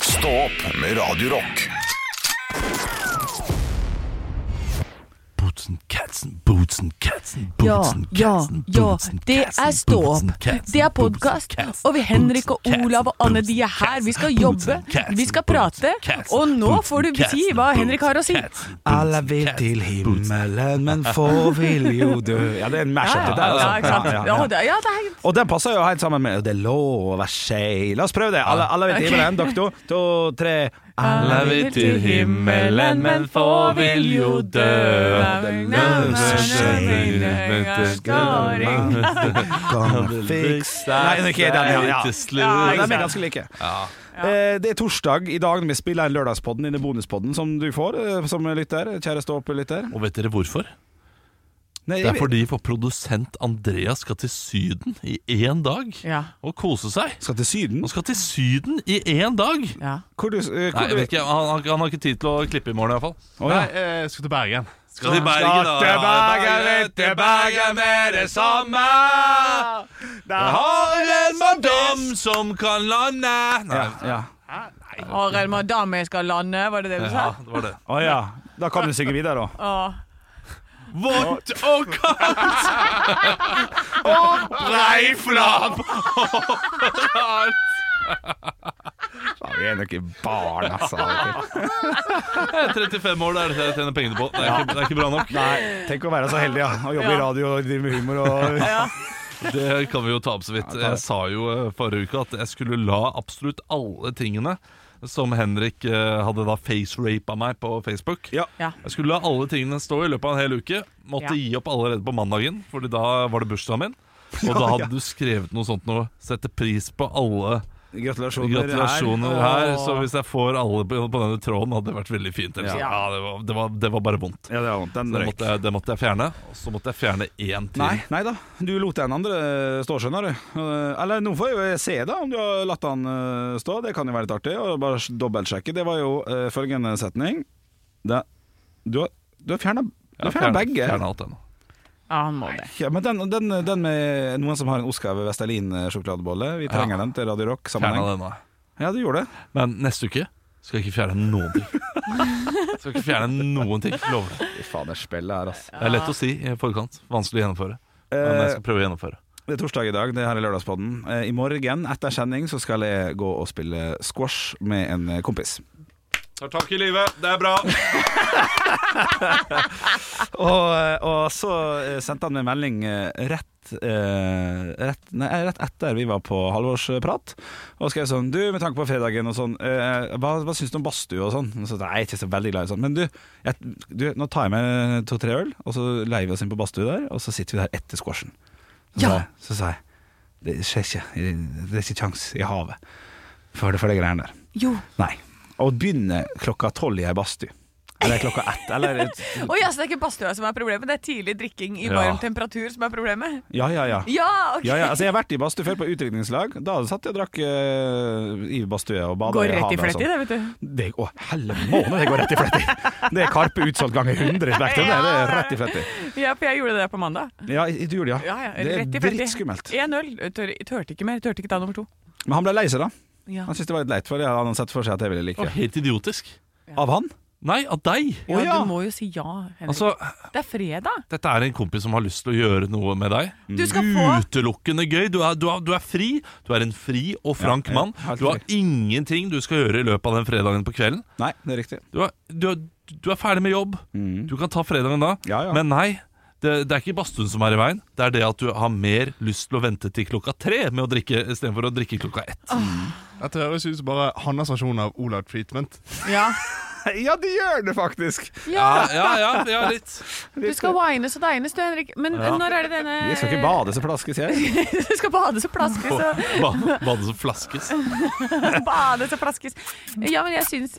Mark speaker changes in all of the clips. Speaker 1: Stå opp med Radio Rock.
Speaker 2: Bootsen, Katzen, Bootsen, Katzen, Bootsen,
Speaker 3: ja,
Speaker 2: Katzen,
Speaker 3: ja.
Speaker 2: Bootsen,
Speaker 3: Det
Speaker 2: Katzen,
Speaker 3: er Stå
Speaker 2: Bootsen,
Speaker 3: opp.
Speaker 2: Katzen,
Speaker 3: Det er
Speaker 2: Bootsen,
Speaker 3: podkast.
Speaker 2: Katzen,
Speaker 3: Og vi Henrik og
Speaker 2: Bootsen,
Speaker 3: Olav og Anne, de er
Speaker 2: Katzen,
Speaker 3: her. Vi skal
Speaker 2: Bootsen,
Speaker 3: jobbe,
Speaker 2: Katzen,
Speaker 3: vi skal
Speaker 2: Bootsen,
Speaker 3: prate.
Speaker 2: Katzen,
Speaker 3: Og nå
Speaker 2: Bootsen,
Speaker 3: får du si
Speaker 2: Katzen,
Speaker 3: hva Henrik har å si.
Speaker 2: Bootsen, Katzen,
Speaker 4: Alle
Speaker 2: Bootsen,
Speaker 4: vil
Speaker 2: Katzen,
Speaker 4: til
Speaker 2: Bootsen.
Speaker 4: himmelen, men få vil jo dø. Ja, det er en
Speaker 3: Ja,
Speaker 4: mash-up,
Speaker 3: ja,
Speaker 4: det der.
Speaker 3: ja,
Speaker 4: altså.
Speaker 3: ikke sant?
Speaker 4: Ja, ja,
Speaker 3: Ja,
Speaker 4: ja.
Speaker 3: det, ja, det er
Speaker 4: Og den passer jo helt sammen med Det er lov å være skei. La oss prøve det. Alle, alle vil til
Speaker 3: Ok.
Speaker 4: himmelen. Dere to, to, tre.
Speaker 3: Alle vil til himmelen, men få vil jo dø.
Speaker 4: Gonna fix Nei, det er ikke den, ja, ja.
Speaker 3: Ja,
Speaker 4: Ja, de er ganske like. Eh, Det er torsdag i dag når vi spiller inn Lørdagspodden, denne bonuspodden som du får eh, som lytter. Kjære stå-opp-lytter.
Speaker 2: Og vet dere hvorfor?
Speaker 4: Nei,
Speaker 2: Det er fordi vår produsent Andreas skal til Syden i én dag
Speaker 3: Ja.
Speaker 2: og kose seg.
Speaker 4: Skal til Syden?
Speaker 2: Han skal til Syden i én dag!
Speaker 3: ja.
Speaker 4: Hvor du, eh, hvor
Speaker 2: Nei, jeg
Speaker 4: du-
Speaker 2: vet ikke, han, han, han har ikke tid til å klippe i morgen, iallfall.
Speaker 4: Å, ja.
Speaker 3: eh,
Speaker 2: Jeg skal til Bergen. Skal til
Speaker 4: Skal
Speaker 2: Bergen, da.
Speaker 4: til
Speaker 2: Ja,
Speaker 4: Bergen, vet du, Bergen
Speaker 2: med det samme.
Speaker 4: Da
Speaker 2: Har en madam som kan lande. Nei,
Speaker 4: Ja, ja.
Speaker 3: Arild Madame, jeg skal lande, var det det du
Speaker 2: ja,
Speaker 3: sa?
Speaker 2: det var det.
Speaker 4: Å ja. Da kan du synge videre, da.
Speaker 3: Åh.
Speaker 2: Vått og kaldt og breiflabb.
Speaker 4: Ja, vi er noen barn, altså. Ok.
Speaker 2: Jeg er 35 år, det er dette jeg tjener pengene på. Det er ikke, det er ikke bra nok.
Speaker 4: Nei, tenk å være så heldig, ja. Å jobbe i
Speaker 3: Ja.
Speaker 4: radio og drive med humor og
Speaker 2: Det kan vi jo ta opp så vidt. Jeg sa jo eh, forrige uke at jeg skulle la absolutt alle tingene som Henrik eh, hadde da facerapa meg på Facebook.
Speaker 4: Ja.
Speaker 3: Ja.
Speaker 2: Jeg skulle la alle tingene stå i løpet av en hel uke. Måtte
Speaker 3: Ja.
Speaker 2: gi opp allerede på mandagen, Fordi da var det bursdagen min. Og da hadde du skrevet noe sånt noe 'sette pris på alle
Speaker 4: Gratulasjoner. her.
Speaker 2: gratulasjoner her'.
Speaker 4: Åh.
Speaker 2: Så hvis jeg får alle på, på denne tråden, hadde det vært veldig fint. Eller
Speaker 4: Ja.
Speaker 2: sånn. Ja, det, var, det, var, det var bare vondt.
Speaker 4: Ja, det er vondt. Den
Speaker 2: Det
Speaker 4: røyk.
Speaker 2: måtte, jeg, det måtte jeg fjerne. Og så måtte jeg fjerne én til.
Speaker 4: Nei, nei da. Du lot den andre eh, stå, skjønner du. Eh, Eller nå får jeg jo se, da, om du har latt han eh, stå. Det kan jo være litt artig. Og bare s- dobbeltsjekke. Det var jo eh, følgende setning. Det, du har, du har fjerna
Speaker 2: Jeg har fjernet-
Speaker 4: begge.
Speaker 2: fjernet alt ennå.
Speaker 3: ja, han må det.
Speaker 4: Ja, men den, den, den med noen som har en Oscar ved Vestalin-sjokoladebolle, eh, vi
Speaker 2: Ja.
Speaker 4: trenger den til Radio Rock-sammenheng.
Speaker 2: Fjernet det nå.
Speaker 4: Ja, du gjorde det.
Speaker 2: Men neste uke skal jeg ikke fjerne noen ting. Skal ikke fjerne noen ting, lover det.
Speaker 4: Fy fader, spillet her, altså.
Speaker 2: Det er lett å si i forkant. Vanskelig å gjennomføre. Men
Speaker 4: Eh,
Speaker 2: jeg skal prøve å gjennomføre.
Speaker 4: Det er torsdag i dag, det her er lørdagspodden. Eh, I morgen etter sending så skal jeg gå og spille squash med en eh, kompis.
Speaker 2: Tar tak i livet, det er bra.
Speaker 4: Og, eh, og så eh, sendte han meg melding eh, rett, eh, rett, nei, rett etter vi var på halvårsprat. Og skrev sånn Du, med tanke på fredagen og sånn, eh, hva, hva syns du om badstue og sånn? Og så, nei, jeg er ikke så veldig glad i sånn. Men du, jeg, du, nå tar jeg med to-tre øl, og så leier vi oss inn på badstue der, og så sitter vi der etter squashen. Så, sa
Speaker 3: Ja.
Speaker 4: jeg- så sa jeg det skjer ikke, det er ikke kjangs i havet for, for de greiene der.
Speaker 3: Jo.
Speaker 4: Nei. Og begynner klokka tolv i ei badstue. Eller klokka ett, eller
Speaker 3: Å ja, så det er ikke badstua som er problemet, det er tidlig drikking i
Speaker 2: Ja.
Speaker 3: varm temperatur som er problemet?
Speaker 4: Ja, ja, ja.
Speaker 3: Ja, ok.
Speaker 4: Ja, ja, altså Jeg har vært i badstue før på utdrikningslag. Da satt jeg og drakk eh, i altså. badstue og bada.
Speaker 3: Går rett i flett i det, vet du.
Speaker 4: Det, å, helle måned, det går rett i flett i! Det er Karpe utsolgt ganger 100 i flett. Det, det er rett i flett i.
Speaker 3: Ja, for jeg gjorde det der på mandag.
Speaker 4: Ja, i- du gjorde det,
Speaker 3: Ja, ja,
Speaker 4: Det er
Speaker 3: rett i fletti.
Speaker 4: dritskummelt.
Speaker 3: 1-0. Jeg Tør, jeg tørte ikke mer. jeg Tørte ikke ta nummer to.
Speaker 4: Men han ble lei seg, da.
Speaker 3: Ja.
Speaker 4: Han syntes det var litt leit, for det hadde han sett for seg at jeg ville
Speaker 2: Det
Speaker 4: like.
Speaker 2: var helt idiotisk.
Speaker 4: Av han?
Speaker 2: Nei, av deg.
Speaker 4: Å ja!
Speaker 3: Du må jo si ja, Henrik.
Speaker 2: Altså,
Speaker 3: det er fredag.
Speaker 2: dette er en kompis som har lyst til å gjøre noe med deg.
Speaker 3: Du skal få
Speaker 2: Utelukkende gøy. Du er, du, er, du er fri. Du er en fri og frank
Speaker 4: Ja, ja,
Speaker 2: mann.
Speaker 4: helt
Speaker 2: Du har
Speaker 4: fri.
Speaker 2: ingenting du skal gjøre i løpet av den fredagen på kvelden.
Speaker 4: Nei, det er riktig.
Speaker 2: Du er, du er, du er ferdig med jobb.
Speaker 4: Mm.
Speaker 2: Du kan ta fredagen da.
Speaker 4: Ja, ja.
Speaker 2: Men nei, det, det er ikke badstuen som er i veien. Det er det at du har mer lyst til å vente til klokka tre med å drikke istedenfor å drikke klokka ett.
Speaker 5: Dette høres ut som bare hans versjon av Olav Treatment.
Speaker 3: Ja.
Speaker 4: Ja, det gjør det faktisk!
Speaker 2: Ja, ja, ja, ja litt.
Speaker 3: Du skal wines og dines du, Henrik. Men
Speaker 2: Ja.
Speaker 3: når er det denne
Speaker 4: Jeg skal ikke bade så plaskes, jeg.
Speaker 3: Du skal bades og plaskes og
Speaker 2: Ba- Bade som flaskes.
Speaker 3: bades og plaskes. Ja, men jeg syns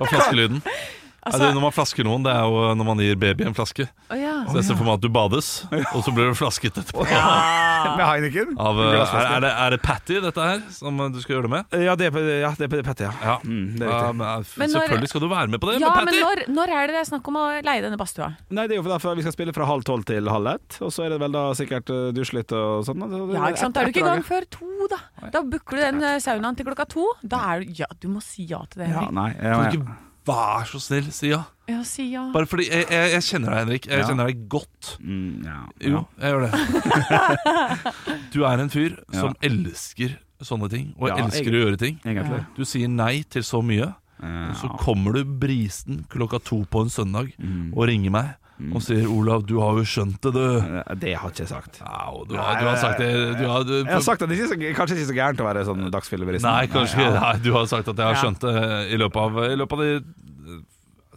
Speaker 2: Og flaskelyden.
Speaker 4: Altså-
Speaker 2: Er det når man flasker noen, det er jo når man gir baby en flaske.
Speaker 3: Altså- Å ja.
Speaker 2: Så jeg ser for meg at du bades, og så blir du flasket etterpå.
Speaker 4: Med Heineken?
Speaker 2: Av, eh, er, er, det, er det Patty, dette her, som eh, du skal gjøre det med?
Speaker 4: Ja, det er på, ja, det er på Petter, ja.
Speaker 2: Ja,
Speaker 4: Mm, det er
Speaker 2: Ja,
Speaker 4: riktig.
Speaker 2: men, eh,
Speaker 3: Men når-
Speaker 2: Selvfølgelig skal du være med på det
Speaker 3: ja,
Speaker 2: med
Speaker 3: men
Speaker 2: Patty!
Speaker 3: når, når er det det er snakk om å leie denne badstua?
Speaker 4: Nei, det er jo derfor vi skal spille fra halv tolv til halv ett. Og så er det vel da sikkert eh, dusj litt og sånn. da.
Speaker 3: Ja, ikke sant? Da er du ikke i gang
Speaker 4: Etterlaget.
Speaker 3: før to, da. Da booker du den eh, saunaen til klokka to. Da er du Ja, du må si ja til det,
Speaker 4: Ja,
Speaker 3: Henrik.
Speaker 4: nei,
Speaker 2: Kan
Speaker 4: jeg,
Speaker 2: du ikke Vær så snill, si ja.
Speaker 3: Ja, si ja.
Speaker 2: Bare fordi jeg, jeg, jeg kjenner deg, Henrik. Jeg
Speaker 4: Ja.
Speaker 2: kjenner deg godt.
Speaker 4: mm, ja,
Speaker 2: Jo,
Speaker 4: ja.
Speaker 2: jeg gjør det. Du er en fyr som elsker sånne ting, og
Speaker 4: Ja,
Speaker 2: elsker å gjøre ting.
Speaker 4: Egentlig. Eh,
Speaker 3: Ja.
Speaker 2: Du sier nei til så mye,
Speaker 4: Ja.
Speaker 2: og så kommer du brisen klokka to på en søndag
Speaker 4: Mm.
Speaker 2: og ringer meg og sier 'Olav, du har jo skjønt det, du'.
Speaker 4: Eh, Det har ikke jeg sagt.
Speaker 2: Au, du, har, du har sagt det du har, du,
Speaker 4: Jeg har sagt at det ikke er så- kanskje ikke så gærent å være sånn dagsfilleberist.
Speaker 2: Nei, kanskje ikke. Nei, du har sagt at jeg har
Speaker 3: Ja.
Speaker 2: skjønt det i løpet av, i løpet av de eh,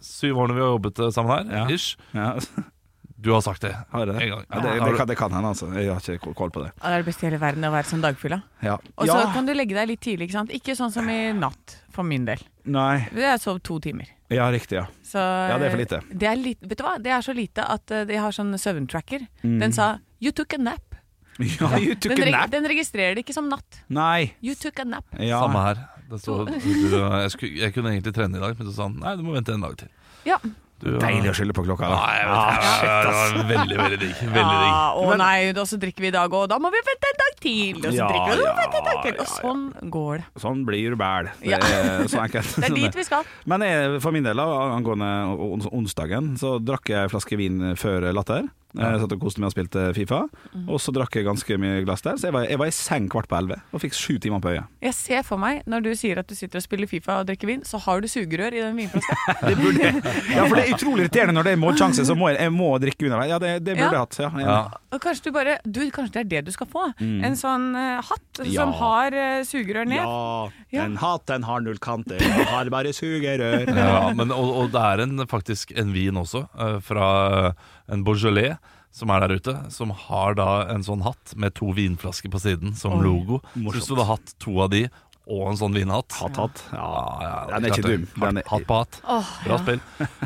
Speaker 2: syv årene vi har jobbet eh, sammen her.
Speaker 4: Ja.
Speaker 2: Ish.
Speaker 4: Ja,
Speaker 2: Du har sagt det
Speaker 4: har jeg det?
Speaker 2: en gang.
Speaker 4: Ja, det, det, kan, det kan hende, altså. Jeg har ikke kål på det.
Speaker 3: Ja, Det er det beste i hele verden å være sånn dagfylla.
Speaker 4: Ja.
Speaker 3: Og så
Speaker 4: ja.
Speaker 3: kan du legge deg litt tidlig, ikke sant. Ikke sånn som i natt, for min del.
Speaker 4: Nei.
Speaker 3: Jeg sov to timer.
Speaker 4: Ja, riktig, ja.
Speaker 3: Så, eh,
Speaker 4: det er for lite.
Speaker 3: det er litt- vet du hva? Det er så lite at eh, jeg har sånn søvntracker. Den sa 'you took a nap'.
Speaker 4: Ja, you Mm. took
Speaker 3: Den,
Speaker 4: a
Speaker 3: reg
Speaker 4: nap.
Speaker 3: den registrerer det ikke som natt.
Speaker 4: Nei.
Speaker 3: You took a nap.
Speaker 4: Ja.
Speaker 2: Samme her. Det står, du, jeg, skulle, jeg kunne egentlig trene i dag, men så sa han nei, du må vente en dag til.
Speaker 3: Ja.
Speaker 2: Du, eh,
Speaker 4: Deilig å Ah, skylde på klokka.
Speaker 2: Nei,
Speaker 4: Da.
Speaker 2: jeg vet ikke. det var veldig, veldig digg. Veldig digg.
Speaker 3: Ja, Ah,
Speaker 4: Ah,
Speaker 3: å nei, og så drikker vi i dag, og da må vi vente en dag til. Og så
Speaker 4: Ja,
Speaker 3: drikker vi, og så må vi
Speaker 4: ja,
Speaker 3: vente en dag til. Og
Speaker 4: ja, ja.
Speaker 3: sånn går det.
Speaker 4: Sånn blir du bæl. Det
Speaker 3: Ja.
Speaker 4: er så enkelt.
Speaker 3: Det er dit vi skal.
Speaker 4: Men jeg, for min del, da, angående ons- onsdagen, så drakk jeg en flaske vin før latter. Jeg satt og koste meg og spilte Fifa, og så drakk jeg ganske mye glass der. Så jeg var, jeg var i seng kvart på elleve og fikk sju timer på øyet.
Speaker 3: Jeg ser for meg, når du sier at du sitter og spiller Fifa og drikker vin, så har du sugerør i den vinflaska.
Speaker 4: Det burde jeg. Ja, for det er utrolig irriterende når det er målsjanse, så må jeg, jeg må drikke underveis. Ja, det, det burde
Speaker 3: Ja.
Speaker 4: jeg hatt. Ja, jeg,
Speaker 2: Ja.
Speaker 3: Og kanskje du bare Du, kanskje det er det du skal få? En sånn eh, hatt
Speaker 4: Mm. Ja.
Speaker 3: som har eh, sugerør ned? Ja.
Speaker 4: en hatt den har null kanter, den har bare sugerør.
Speaker 2: Ja, men, og, og det er en, faktisk en vin også, eh, fra en Beaujolais som er der ute, som har da en sånn hatt med to vinflasker på siden som
Speaker 3: Oi,
Speaker 2: logo.
Speaker 4: morsomt.
Speaker 2: Så hvis du hadde hatt to av de og en sånn vinhatt
Speaker 4: Hatt, hatt. Ja,
Speaker 2: ja,
Speaker 4: den er ikke dum. Den er-
Speaker 2: Hatt på hatt.
Speaker 3: Åh,
Speaker 2: Bra spill.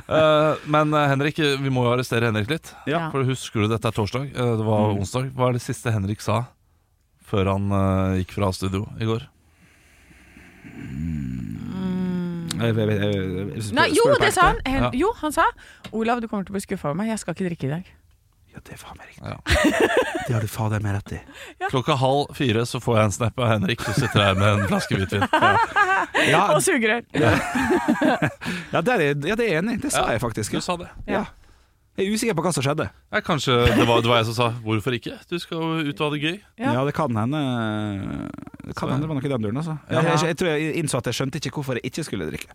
Speaker 2: Eh, men eh, Henrik, eh, vi må jo arrestere Henrik litt.
Speaker 4: Ja. Mm.
Speaker 2: For husker du dette er torsdag? Eh, det var onsdag. Hva er det siste Henrik sa før han eh, gikk fra studio i går?
Speaker 3: Mm.
Speaker 4: Jeg- jeg- jeg- jeg- jeg- spør-
Speaker 3: Nei, jo,
Speaker 4: spør på
Speaker 3: det
Speaker 4: ekte.
Speaker 3: sa han! Hen
Speaker 2: Ja.
Speaker 3: Jo, han sa 'Olav, du kommer til å bli skuffa over meg, jeg skal ikke drikke i dag'.
Speaker 4: Ja, det er faen meg riktig.
Speaker 2: Ja.
Speaker 4: Det har du fader meg rett i.
Speaker 2: Klokka halv fire så får jeg en snap av Henrik og sitter her med en flaske hvitvin.
Speaker 4: Ja,
Speaker 3: Og sugerør!
Speaker 4: ja, der er, ja det er jeg enig i. Det sa jeg faktisk.
Speaker 2: Du sa det.
Speaker 4: Ja. Jeg er usikker på hva som skjedde.
Speaker 2: Ja, kanskje det var, det var jeg som sa 'hvorfor ikke'? Du skal jo ut og ha det gøy.
Speaker 3: Ja.
Speaker 4: Ja, det kan hende Det kan
Speaker 2: Så-
Speaker 4: hende det var noe i den duren, altså.
Speaker 2: Ja.
Speaker 4: Jeg, jeg, jeg tror jeg innså at jeg skjønte ikke hvorfor jeg ikke skulle drikke.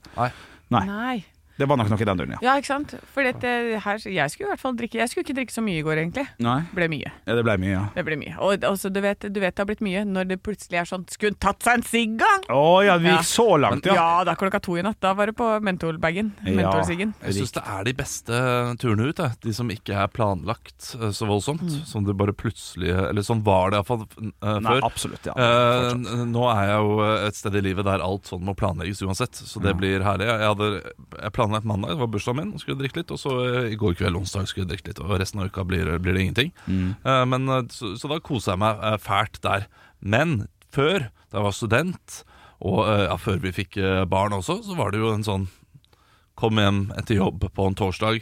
Speaker 4: Nei.
Speaker 3: Nei.
Speaker 4: Det var nok noe i den duren, ja.
Speaker 3: Ja, ikke sant? For dette, her, jeg skulle i hvert fall drikke Jeg skulle ikke drikke så mye i går, egentlig.
Speaker 4: Nei,
Speaker 3: Det ble mye.
Speaker 4: ja, det ble mye, ja.
Speaker 3: Det ble mye. Og også, du, vet, du vet det har blitt mye når det plutselig er sånn 'Skulle hun tatt seg en sigg, da?'
Speaker 4: Å ja, vi
Speaker 3: Ja.
Speaker 4: gikk så langt,
Speaker 3: Ja.
Speaker 4: ja.
Speaker 3: da klokka to i natt. Da var det på mentolbagen.
Speaker 4: Ja.
Speaker 3: Mentolsiggen.
Speaker 2: Jeg syns det er de beste turene ut, jeg. de som ikke er planlagt eh, så voldsomt. Som det bare plutselig Eller sånn var det iallfall
Speaker 4: Mm. Nei,
Speaker 2: før.
Speaker 4: absolutt, ja.
Speaker 2: Eh, n- nå er jeg jo et sted i livet der alt sånn må planlegges uansett, så det blir herlig. Jeg, hadde, jeg planla et mandag, det var bursdagen min, og skulle drikke litt. Og så eh, i går kveld, onsdag, skulle jeg drikke litt. Og resten av uka blir, blir det ingenting.
Speaker 4: Mm.
Speaker 2: Eh, men, eh, så, så da kosa jeg meg eh, fælt der. Men før, da jeg var student, og eh, ja, før vi fikk eh, barn også, så var det jo en sånn Kom hjem etter jobb på en torsdag,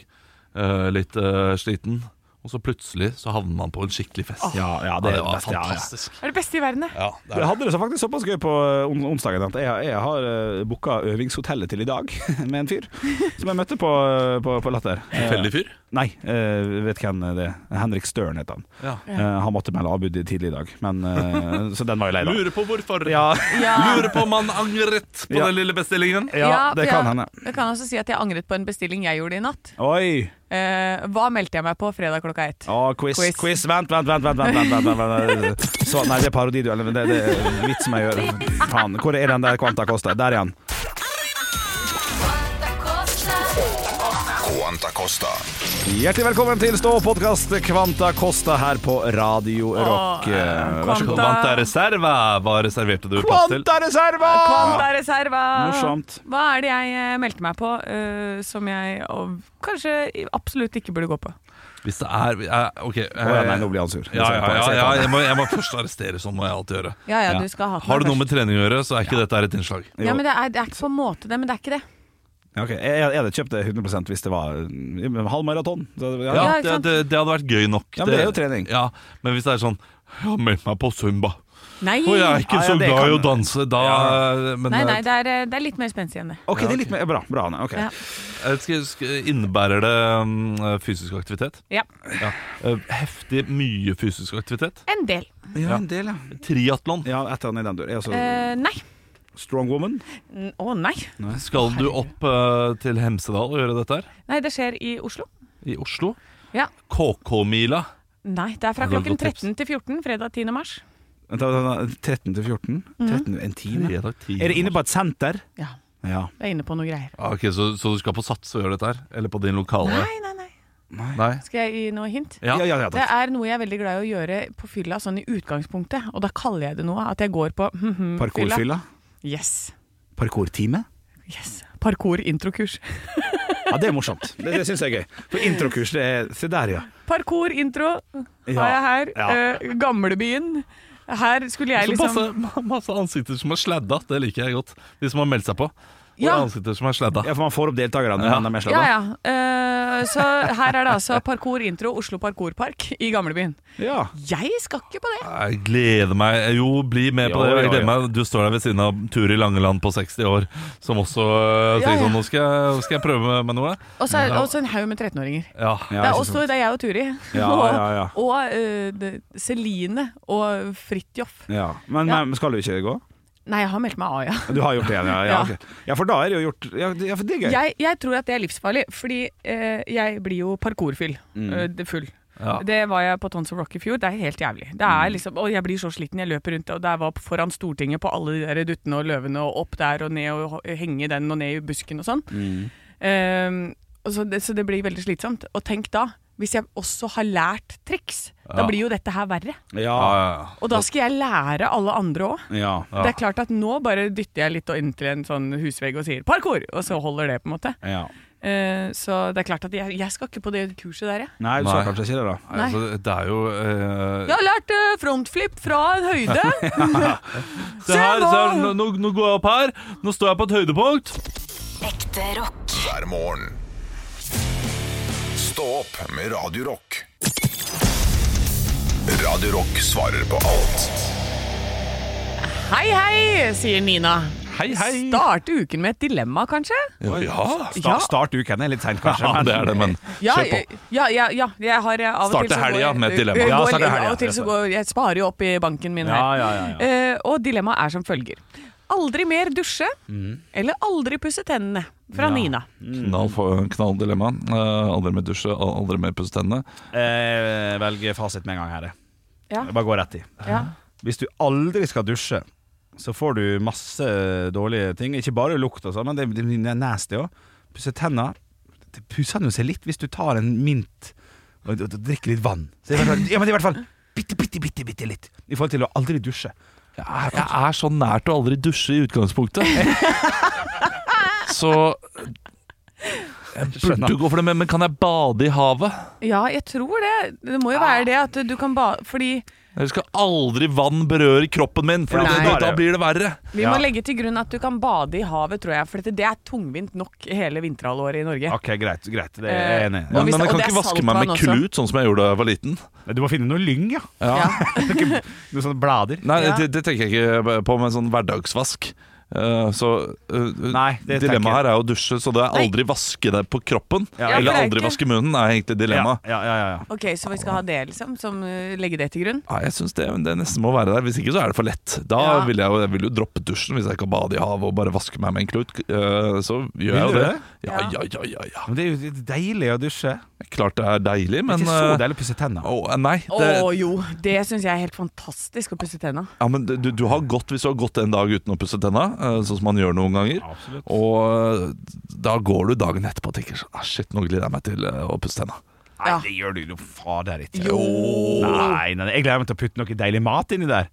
Speaker 2: eh, litt eh, sliten, og så plutselig så havner man på en skikkelig fest.
Speaker 4: Ja, ja, Ah, det,
Speaker 2: Ja,
Speaker 4: er
Speaker 2: det var
Speaker 4: best, ja, ja.
Speaker 2: fantastisk.
Speaker 3: Det er det beste i verden, det.
Speaker 2: Ja, det er
Speaker 4: Jeg hadde det så faktisk såpass gøy på eh, on onsdagen at jeg, jeg har uh, booka øvingshotellet til i dag med en fyr som jeg møtte på, eh, på, på Latter. Eh,
Speaker 2: Tilfeldig fyr?
Speaker 4: Nei, eh, vet hvem det er. Henrik Støren heter han.
Speaker 2: Ja.
Speaker 4: Eh, han måtte melde avbud tidlig i dag, men, eh, så den var jo lei, da.
Speaker 2: Lurer på hvorfor.
Speaker 4: Ja,
Speaker 2: Lurer på om han angret på
Speaker 4: Ja.
Speaker 2: den lille bestillingen.
Speaker 4: ja,
Speaker 3: Ja,
Speaker 4: det
Speaker 3: for
Speaker 4: kan
Speaker 3: jeg-
Speaker 4: hende.
Speaker 3: Jeg kan også si at jeg angret på en bestilling jeg gjorde i natt.
Speaker 4: Oi!
Speaker 3: Eh, hva meldte jeg meg på fredag klokka ett?
Speaker 4: Å, quiz,
Speaker 3: Quiz.
Speaker 4: quiz. Vent, vent, vent. vent, vent, vent, vent, vent. Så, nei, det er parodiduellen. men Det, det er vits som jeg gjør. Faen. Hvor er den der Quanta Costa? Der er han.
Speaker 1: Quanta Costa. Costa.
Speaker 4: Hjertelig velkommen til Stå-podkast Kvanta Costa her på Radio Rock.
Speaker 3: eh,
Speaker 4: Eh, Vær så god.
Speaker 3: Kvanta-
Speaker 2: Vanta Reserva, hva reserverte du plass til?
Speaker 4: Kvanta Reserva!
Speaker 3: Kvanta reserva.
Speaker 4: Morsomt.
Speaker 3: Hva er det jeg eh, meldte meg på eh, som jeg og, kanskje absolutt ikke burde gå på?
Speaker 2: Hvis det er eh, Ok. eh,
Speaker 4: Å, ja, nei, nå blir han sur.
Speaker 2: ja, ja, ja, ja, jeg, må, jeg må først arrestere, sånn må jeg alltid gjøre.
Speaker 3: Ja, ja,
Speaker 4: Ja.
Speaker 3: du skal ha hatt
Speaker 2: Har det
Speaker 3: meg
Speaker 2: noe
Speaker 3: først.
Speaker 2: med trening å gjøre, så er ikke dette her et innslag.
Speaker 4: Jo.
Speaker 3: Ja, men det er, det er ikke på en måte det, men det er ikke det.
Speaker 4: Ja, ok. Jeg jeg hadde kjøpt det 100 hvis det var mm, halv maraton. Så det-
Speaker 2: Ja,
Speaker 3: Ja, ikke
Speaker 2: det,
Speaker 3: sant?
Speaker 2: det, det hadde vært gøy nok.
Speaker 4: Ja, men det er jo trening.
Speaker 2: Ja, men hvis det er sånn Jeg har meldt meg på Zumba,
Speaker 3: Nei,
Speaker 2: og jeg er ikke
Speaker 4: Ja, ja,
Speaker 2: så
Speaker 4: det
Speaker 2: glad i å
Speaker 4: kan-
Speaker 2: danse, da men,
Speaker 3: nei, nei det, er, eh, det er litt mer spenstig enn det.
Speaker 4: Ok, det er litt mer Bra. bra Anne. Ok.
Speaker 3: Ja.
Speaker 2: Jeg vet ikke, sk- Innebærer det mm, fysisk aktivitet?
Speaker 3: Ja.
Speaker 2: Ja. Eh, Heftig mye fysisk aktivitet?
Speaker 3: En del.
Speaker 4: Ja, en del, ja.
Speaker 2: Triatlon?
Speaker 4: Ja, Et eller annet i den dur. Jeg er også
Speaker 3: Eh, nei.
Speaker 4: strong woman.
Speaker 3: N- Å nei.
Speaker 2: Skal du opp eh, til Hemsedal og gjøre dette her?
Speaker 3: Nei, det skjer i Oslo.
Speaker 2: I Oslo?
Speaker 3: Ja.
Speaker 2: KK-mila?
Speaker 3: Nei, det er fra
Speaker 2: Har du
Speaker 3: klokken
Speaker 2: noen tips?
Speaker 3: 13 til 14 fredag 10. mars.
Speaker 4: Vent, da, da, da, 13 til 14?
Speaker 3: Mm.
Speaker 4: 13, en time?
Speaker 2: Fredag 10.
Speaker 4: Er det inne på et senter?
Speaker 3: Ja,
Speaker 4: Ja.
Speaker 3: det er inne på noe greier.
Speaker 2: Ah, Ok, så, så du skal på Sats og gjøre dette her? Eller på din lokale?
Speaker 3: Nei, nei, nei.
Speaker 2: Nei.
Speaker 3: Skal jeg gi noe hint?
Speaker 2: Ja.
Speaker 4: ja, ja, ja
Speaker 3: Det
Speaker 4: takk.
Speaker 3: er noe jeg er veldig glad i å gjøre på fylla, sånn i utgangspunktet. Og da kaller jeg det noe. At jeg går på mhm, fylla.
Speaker 4: Parkourfylla?
Speaker 3: Yes.
Speaker 4: Parkourtime?
Speaker 3: yes. Parkour-introkurs.
Speaker 4: Ja, det er morsomt. Det, det syns jeg er gøy. For introkurs, det er Se der, ja.
Speaker 3: Parkour-intro
Speaker 4: Ja,
Speaker 3: har jeg her.
Speaker 4: ja.
Speaker 3: Eh, gamlebyen. Her skulle jeg
Speaker 2: Så
Speaker 3: liksom
Speaker 2: masse, masse ansikter som er sladda, det liker jeg godt. De som har meldt seg på. Og
Speaker 3: Ja.
Speaker 2: ansikter som er sladda.
Speaker 4: Ja, for man får opp deltakerne når
Speaker 2: Ja.
Speaker 4: man er med
Speaker 3: Ja,
Speaker 4: sladda.
Speaker 3: ja. Eh, så her er det altså parkour-intro Oslo Parkourpark i gamlebyen.
Speaker 4: Ja.
Speaker 3: Jeg skal ikke på det!
Speaker 2: Jeg gleder meg. Jo, bli med på
Speaker 4: Ja,
Speaker 2: det. Jeg
Speaker 4: ja,
Speaker 2: gleder
Speaker 4: ja.
Speaker 2: meg. Du står der ved siden av Turi Langeland på 60 år, som også øh,
Speaker 3: Ja,
Speaker 2: tenker
Speaker 3: ja.
Speaker 2: sånn Nå skal jeg, skal jeg prøve med noe.
Speaker 3: Og så er det også en haug med 13-åringer.
Speaker 2: Ja.
Speaker 4: Ja,
Speaker 3: det, er
Speaker 4: ikke
Speaker 3: også, det er jeg og Turi.
Speaker 4: Ja,
Speaker 3: og
Speaker 4: ja, ja.
Speaker 3: og eh, det- Celine og Fridtjof.
Speaker 4: ja. Men,
Speaker 3: Ja.
Speaker 4: men skal du ikke gå?
Speaker 3: Nei, jeg har meldt meg av, ja.
Speaker 4: Du har gjort det igjen, ja. Ja,
Speaker 3: Ja.
Speaker 4: ok. ja for da er det jo gjort Ja, det- ja for det er gøy.
Speaker 3: Jeg, jeg tror at det er livsfarlig, fordi eh, jeg blir jo parkourfyll. eh, det- full.
Speaker 2: Ja.
Speaker 3: Det var jeg på Tons of Rock i fjor. Det er helt jævlig. Det er liksom, og jeg blir så sliten. Jeg løper rundt, og der var foran Stortinget på alle de der duttene og løvene, og opp der og ned og ho- henge den og ned i busken og sånn. Eh, og så, det, så det blir veldig slitsomt. Og tenk da, hvis jeg også har lært triks, da
Speaker 2: Ja.
Speaker 3: blir jo dette her verre.
Speaker 4: Ja.
Speaker 2: Ja, ja, ja.
Speaker 3: Og da skal jeg lære alle andre òg.
Speaker 4: ja.
Speaker 3: Det er klart at nå bare dytter jeg litt og inntil en sånn husvegg og sier 'parkour', og så holder det, på en måte.
Speaker 4: ja.
Speaker 3: Eh, så det er klart at jeg, jeg skal ikke på det kurset der, jeg.
Speaker 4: Nei, du sa
Speaker 2: Nei.
Speaker 4: kanskje ikke det, da.
Speaker 3: Nei.
Speaker 2: Altså, det er jo øh,
Speaker 3: Jeg har lært eh, frontflip fra en høyde.
Speaker 2: se her, se her, nå, nå- nå går jeg opp her. Nå står jeg på et høydepunkt.
Speaker 6: Ekte rock.
Speaker 1: hver morgen. Stå opp med Radio Rock. Radio Rock svarer på alt
Speaker 3: Hei, hei, sier Nina.
Speaker 2: Hei, hei.
Speaker 3: Starte uken med et dilemma, kanskje?
Speaker 2: Ja.
Speaker 4: Sta, start uken er litt seint, kanskje.
Speaker 2: ja, det er det, men
Speaker 3: Ja, eh,
Speaker 2: kjør på.
Speaker 3: ja, ja, ja, jeg har eh, av og
Speaker 2: Starte
Speaker 3: til så går
Speaker 2: helga
Speaker 3: jeg-
Speaker 2: med et dilemma.
Speaker 3: Jeg
Speaker 4: Ja,
Speaker 3: går-
Speaker 4: starte helga.
Speaker 3: Av og til så går jeg sparer jo opp i banken min her.
Speaker 4: Ja, ja, ja, ja.
Speaker 3: Eh, og dilemmaet er som følger. Aldri mer dusje,
Speaker 2: Mm.
Speaker 3: eller aldri pusse tennene? Fra Nina.
Speaker 2: Knall, knalldilemma. Eh, aldri med dusje, aldri med pusse tennene.
Speaker 4: Eh, velg fasit med en gang her. jeg.
Speaker 3: Ja.
Speaker 4: Bare gå rett i.
Speaker 3: Ja.
Speaker 4: Hvis du aldri skal dusje, så får du masse dårlige ting. Ikke bare lukt og sånn, men det det blir nasty òg. Pusse tenna. Det pusser den jo seg litt hvis du tar en mynt og, og, og drikker litt vann. Så det er i hvert fall, ja, men det er i hvert fall bitte, bitte, bitte, bitte litt. I forhold til å aldri dusje.
Speaker 2: Jeg er, jeg er så nært å aldri dusje i utgangspunktet. Så jeg burde
Speaker 4: Skjønner.
Speaker 2: gå for det, men, men kan jeg bade i havet?
Speaker 3: ja, jeg tror det. Det må jo
Speaker 2: Ah.
Speaker 3: være det at du kan ba... Fordi
Speaker 2: Jeg skal aldri vann berøre kroppen min, for
Speaker 3: Nei.
Speaker 2: da, da blir det verre.
Speaker 3: vi
Speaker 4: Ja.
Speaker 3: må legge til grunn at du kan bade i havet, tror jeg. For dette, det er tungvint nok hele vinterhalvåret i Norge.
Speaker 4: Ok, greit. greit Det
Speaker 3: Eh,
Speaker 4: er jeg enig i.
Speaker 3: Og
Speaker 2: Men,
Speaker 3: hvis-
Speaker 2: men jeg
Speaker 3: og
Speaker 2: kan
Speaker 3: det er
Speaker 2: ikke vaske meg med
Speaker 3: saltvann også.
Speaker 2: klut, sånn som jeg gjorde da jeg var liten.
Speaker 4: Du må finne noe lyng, ja.
Speaker 2: Ja.
Speaker 4: Noe- Noen sånne blader.
Speaker 2: Nei,
Speaker 3: Ja.
Speaker 2: det, det tenker jeg ikke på med sånn hverdagsvask. Eh, så eh,
Speaker 4: Nei, det tenker jeg.
Speaker 2: dilemmaet her er å dusje, så det er aldri vaske deg på kroppen.
Speaker 4: Ja,
Speaker 3: for
Speaker 2: eller
Speaker 3: det er
Speaker 2: aldri
Speaker 3: ikke-
Speaker 2: vaske munnen, er egentlig
Speaker 4: Ja,
Speaker 2: dilemmaet.
Speaker 4: ja, ja, ja.
Speaker 3: Ok, så vi skal ha det, liksom? Som, eh, legge det til grunn?
Speaker 2: Ja, jeg syns det, det nesten må være der. Hvis ikke så er det for lett. Da
Speaker 3: Ja.
Speaker 2: vil jeg, jo- jeg vil jo droppe dusjen hvis jeg kan bade i havet og bare vaske meg med en klut. eh, Så gjør jeg jo
Speaker 4: du
Speaker 2: det.
Speaker 4: det?
Speaker 2: Ja, ja, ja, ja, ja.
Speaker 4: Men det er jo deilig å dusje.
Speaker 2: Klart det er deilig, men
Speaker 4: ikke så
Speaker 2: eh,
Speaker 4: deilig å pusse tennene.
Speaker 2: å, nei,
Speaker 3: Å
Speaker 2: det,
Speaker 3: jo, det syns jeg er helt fantastisk å pusse tenna.
Speaker 2: ja, men du, du har gått hvis du har gått en dag uten å pusse tenna, eh, sånn som man gjør noen ganger.
Speaker 4: Absolutt.
Speaker 2: Og eh, da går du dagen etterpå og tenker sånn ah, Shit, nå gleder jeg meg til eh, å pusse tenna.
Speaker 4: Nei,
Speaker 3: Ja.
Speaker 4: det gjør du jo fader ikke.
Speaker 3: Jo.
Speaker 4: Nei, nei, nei, jeg gleder meg til å putte noe deilig mat inni der.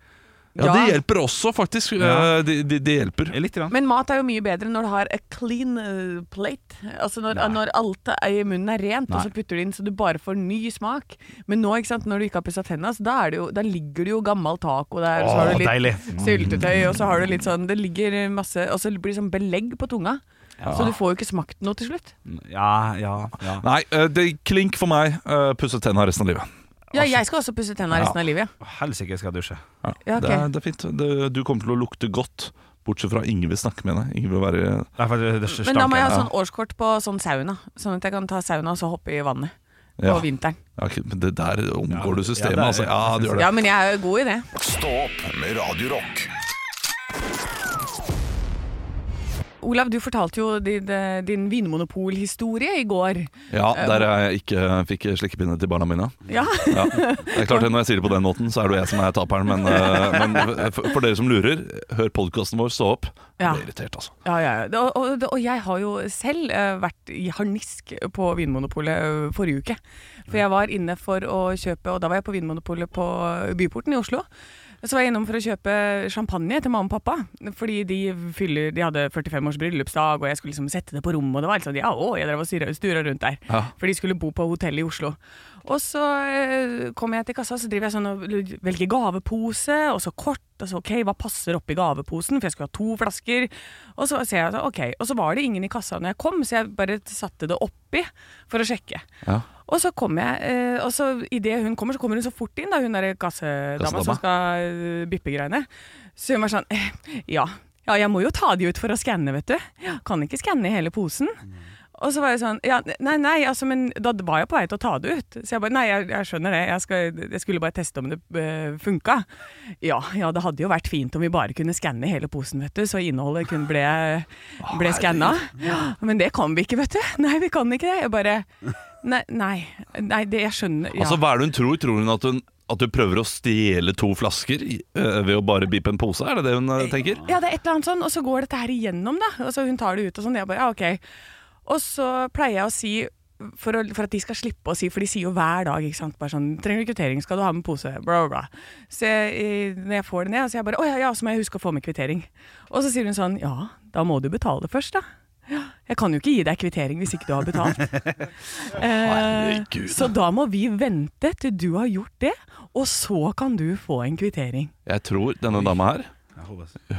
Speaker 2: Ja,
Speaker 3: Ja.
Speaker 2: det hjelper også, faktisk.
Speaker 4: Ja.
Speaker 2: Eh, Det det- det hjelper.
Speaker 4: Litt. Grann.
Speaker 3: Men mat er jo mye bedre når du har a clean eh, plate. Altså når,
Speaker 4: Nei.
Speaker 3: når alt i munnen er rent, og
Speaker 4: Nei.
Speaker 3: så putter du inn så du bare får ny smak. Men nå, ikke sant, når du ikke har pussa tenna, så da, er det jo, da ligger det jo gammel taco der. og så har
Speaker 4: Åh,
Speaker 3: du litt
Speaker 4: deilig.
Speaker 3: syltetøy, og så har du litt sånn Det ligger masse Og så blir det sånn belegg på tunga. Så du får jo ikke smakt noe til slutt.
Speaker 4: Ja, ja, ja.
Speaker 2: Nei, eh, det klink for meg. eh, Pusse tenna resten av livet.
Speaker 3: Ja, jeg skal også pusse tenna resten av livet, ja.
Speaker 4: Helsike, jeg skal dusje.
Speaker 2: Ja,
Speaker 3: Ja, ok.
Speaker 2: det, er, det er fint. Det, du kommer til å lukte godt, bortsett fra Inge vil snakke med deg. Inge vil være
Speaker 4: Nei, for det, det stanker.
Speaker 3: Men da må jeg ha
Speaker 4: Ja.
Speaker 3: sånn årskort på sånn sauna, sånn at jeg kan ta sauna og så hoppe i vannet på
Speaker 2: Ja.
Speaker 3: vinteren.
Speaker 2: ja, ok, men Det der omgår du systemet,
Speaker 4: Ja, det
Speaker 2: altså.
Speaker 4: er-
Speaker 2: Ja, du gjør det.
Speaker 3: Ja, men jeg er jo god i det.
Speaker 1: Stå opp med Radio Rock.
Speaker 3: Olav, du fortalte jo din, eh, din vinmonopolhistorie i går.
Speaker 2: Ja, der jeg ikke fikk slikkepinne til barna mine.
Speaker 3: Ja.
Speaker 2: Ja. Det er klart det Når jeg sier det på den måten, så er det jo jeg som er taperen. Men, eh, men for for dere som lurer, hør podkasten vår, stå opp. Jeg
Speaker 3: Ja.
Speaker 2: Blir irritert, altså.
Speaker 3: Ja, ja, ja. Og, og, og jeg har jo selv eh, vært i harnisk på Vinmonopolet eh, forrige uke. For jeg var inne for å kjøpe, og da var jeg på Vinmonopolet på Byporten i Oslo. Så var jeg innom for å kjøpe champagne til mamma og pappa. Fordi de, fyller, de hadde 45 års bryllupsdag, og jeg skulle liksom sette det på rommet. Og det var liksom, ja, å, jeg drev og surra- stura rundt der.
Speaker 2: Ja.
Speaker 3: For de skulle bo på hotell i Oslo. Og så eh, kommer jeg til kassa, så driver jeg sånn og l- velger gavepose, og så kort. Og så ok, hva passer oppi gaveposen, for jeg skulle ha to flasker. Og så ser jeg, så, ok, og så var det ingen i kassa når jeg kom, så jeg bare satte det oppi for å sjekke.
Speaker 2: Ja.
Speaker 3: Og så kommer jeg, eh, og så idet hun kommer, så kommer hun så fort inn, da, hun der kassedama
Speaker 2: Kassedama.
Speaker 3: som skal eh, bippe greiene. Så hun var sånn, eh, ja, ja, jeg må jo ta de ut for å skanne, vet du. Ja, Kan ikke skanne hele posen. Og så var jeg sånn, ja, nei, nei, altså, men da var jeg på vei til å ta det ut. Så jeg bare, nei, jeg, jeg skjønner det, jeg, skal, jeg skulle bare teste om det eh, funka. Ja, ja, det hadde jo vært fint om vi bare kunne skanne hele posen, vet du, så innholdet kun ble, ble skanna. Ja, men det kan vi ikke, vet du. Nei, vi kan ikke det. Jeg bare, nei, nei, nei det, jeg skjønner. Ja.
Speaker 2: Altså, Hva er det hun tror? Tror hun at hun at du prøver å stjele to flasker i- eh, ved å bare bipe en pose? Er det det hun eh, tenker?
Speaker 3: Ja, det er et eller annet sånn, og så går dette her igjennom, da. Og så hun tar det ut og sånn. Jeg bare, ja, ok. Og så pleier jeg å si, for, å, for at de skal slippe å si, for de sier jo hver dag, ikke sant, bare sånn, trenger du kvittering, skal du ha med pose, bla, bla, bla. Så jeg, eh, når jeg får det ned, så jeg bare, å ja, ja, så må jeg huske å få med kvittering. Og så sier hun sånn, ja, da må du betale først, da. Ja, Jeg kan jo ikke gi deg kvittering hvis ikke du har betalt. Eh,
Speaker 2: herregud.
Speaker 3: så da må vi vente til du har gjort det, og så kan du få en kvittering.
Speaker 2: Jeg tror denne dama her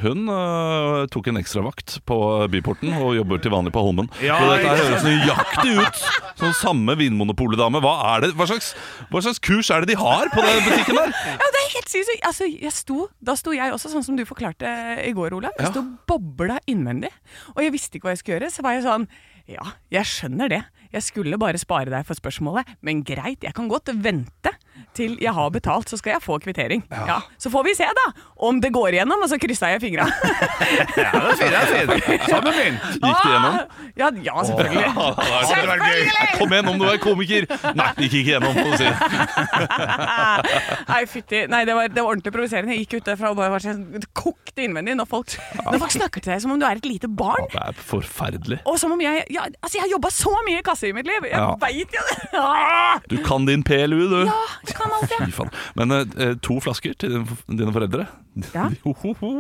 Speaker 2: hun øh, tok en ekstravakt på byporten og jobber til vanlig på Holmen.
Speaker 4: Ja,
Speaker 2: Så dette her
Speaker 4: ikke
Speaker 2: høres nøyaktig ut som samme Vinmonopolet-dame. Hva, er det- hva, slags- hva slags kurs er det de har på den butikken der?
Speaker 3: Ja, det er helt sinnssykt. Altså, jeg sto, da sto jeg også, sånn som du forklarte i går, Olav. Jeg
Speaker 2: Ja.
Speaker 3: sto bobla innvendig, og jeg visste ikke hva jeg skulle gjøre. Så var jeg sånn Ja, jeg skjønner det. Jeg skulle bare spare deg for spørsmålet, men greit, jeg kan godt vente til jeg har betalt, så skal jeg få kvittering. Ja. Så får vi se, da, om det går igjennom. Og så kryssa jeg fingra.
Speaker 4: Ja, det er fint, det er fint. Samme mynt.
Speaker 2: Gikk det gjennom?
Speaker 3: Ja, ja selvfølgelig. Selvfølgelig!
Speaker 2: Kom igjen, om du er komiker! Nei, det gikk ikke gjennom. Får du si.
Speaker 3: Nei, fytti. Nei, det var, det var ordentlig provoserende. Jeg gikk ut derfra og bare var sånn kokte innvendig når folk, når folk snakker til deg som om du er et lite barn.
Speaker 2: Ja, Det er forferdelig.
Speaker 3: Og som om jeg ja, Altså, jeg har jobba så mye i kasse i mitt liv! Jeg
Speaker 2: Ja.
Speaker 3: veit jo det! Ah!
Speaker 2: Du kan din PLU, du.
Speaker 3: Ja, jeg kan alt,
Speaker 2: Fy
Speaker 3: jeg.
Speaker 2: faen. Men eh, to flasker til dine, dine foreldre
Speaker 3: Ja.
Speaker 2: Ho, ho, ho.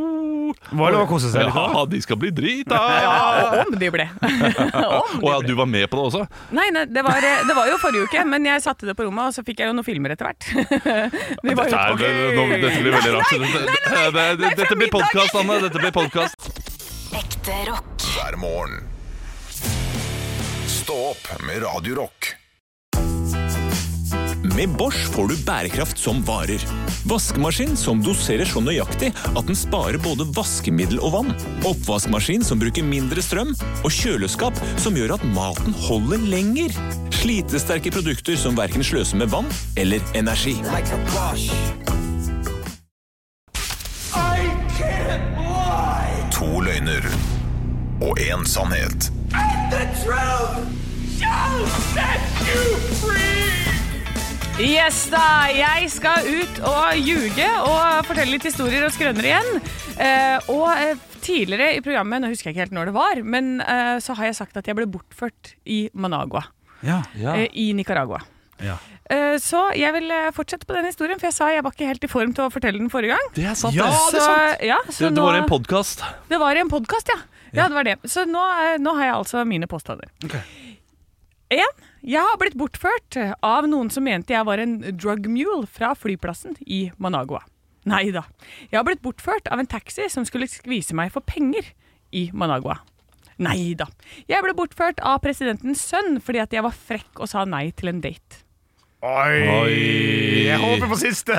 Speaker 4: Var det lov å kose seg litt, da?
Speaker 2: Ja, de skal bli drita!
Speaker 3: Ja, og om de ble. om
Speaker 2: Å
Speaker 3: de
Speaker 2: ja,
Speaker 3: ble.
Speaker 2: du var med på det også?
Speaker 3: Nei, nei det, var, det var jo forrige uke, men jeg satte det på rommet, og så fikk jeg jo noen filmer etter hvert. De var
Speaker 2: Dette, er,
Speaker 3: jo-
Speaker 2: det- nå, dette blir veldig rart. Det- det-
Speaker 3: nei, fra
Speaker 2: dette blir
Speaker 3: middagen!
Speaker 2: podkast, Anne. Dette blir podcast.
Speaker 6: Ekte rock.
Speaker 1: hver morgen. Stå opp med Radio Rock.
Speaker 7: Med Bosch får du bærekraft som varer. Vaskemaskin som doserer så nøyaktig at den sparer både vaskemiddel og vann. Oppvaskmaskin som bruker mindre strøm. Og kjøleskap som gjør at maten holder lenger. Slitesterke produkter som verken sløser med vann eller energi.
Speaker 1: To løgner og én sannhet.
Speaker 8: The truth
Speaker 3: shall set you free! Yes da, jeg skal ut og ljuge og fortelle litt historier og skrøner igjen. Eh, og eh, tidligere i programmet, nå husker jeg ikke helt når det var, men eh, så har jeg sagt at jeg ble bortført i Managua
Speaker 4: Ja.
Speaker 3: eh, i Nicaragua.
Speaker 4: Ja.
Speaker 3: Eh, så jeg vil eh, fortsette på den historien, for jeg sa jeg var ikke helt i form til å fortelle den forrige gang.
Speaker 2: Det er sant,
Speaker 4: Ja,
Speaker 2: det.
Speaker 4: det er
Speaker 3: Så,
Speaker 4: sant.
Speaker 3: ja, så
Speaker 2: Det, det
Speaker 3: nå,
Speaker 2: var en podkast.
Speaker 3: det var i en podkast, ja. ja. det var det. Så nå, eh, nå har jeg altså mine påstander. En, jeg har blitt bortført av noen som mente jeg var en drug mule fra flyplassen i Managua. Nei da. Jeg har blitt bortført av en taxi som skulle skvise meg for penger i Managua. Nei da. Jeg ble bortført av presidentens sønn fordi at jeg var frekk og sa nei til en date.
Speaker 4: Oi.
Speaker 2: Oi.
Speaker 4: Jeg håper på siste!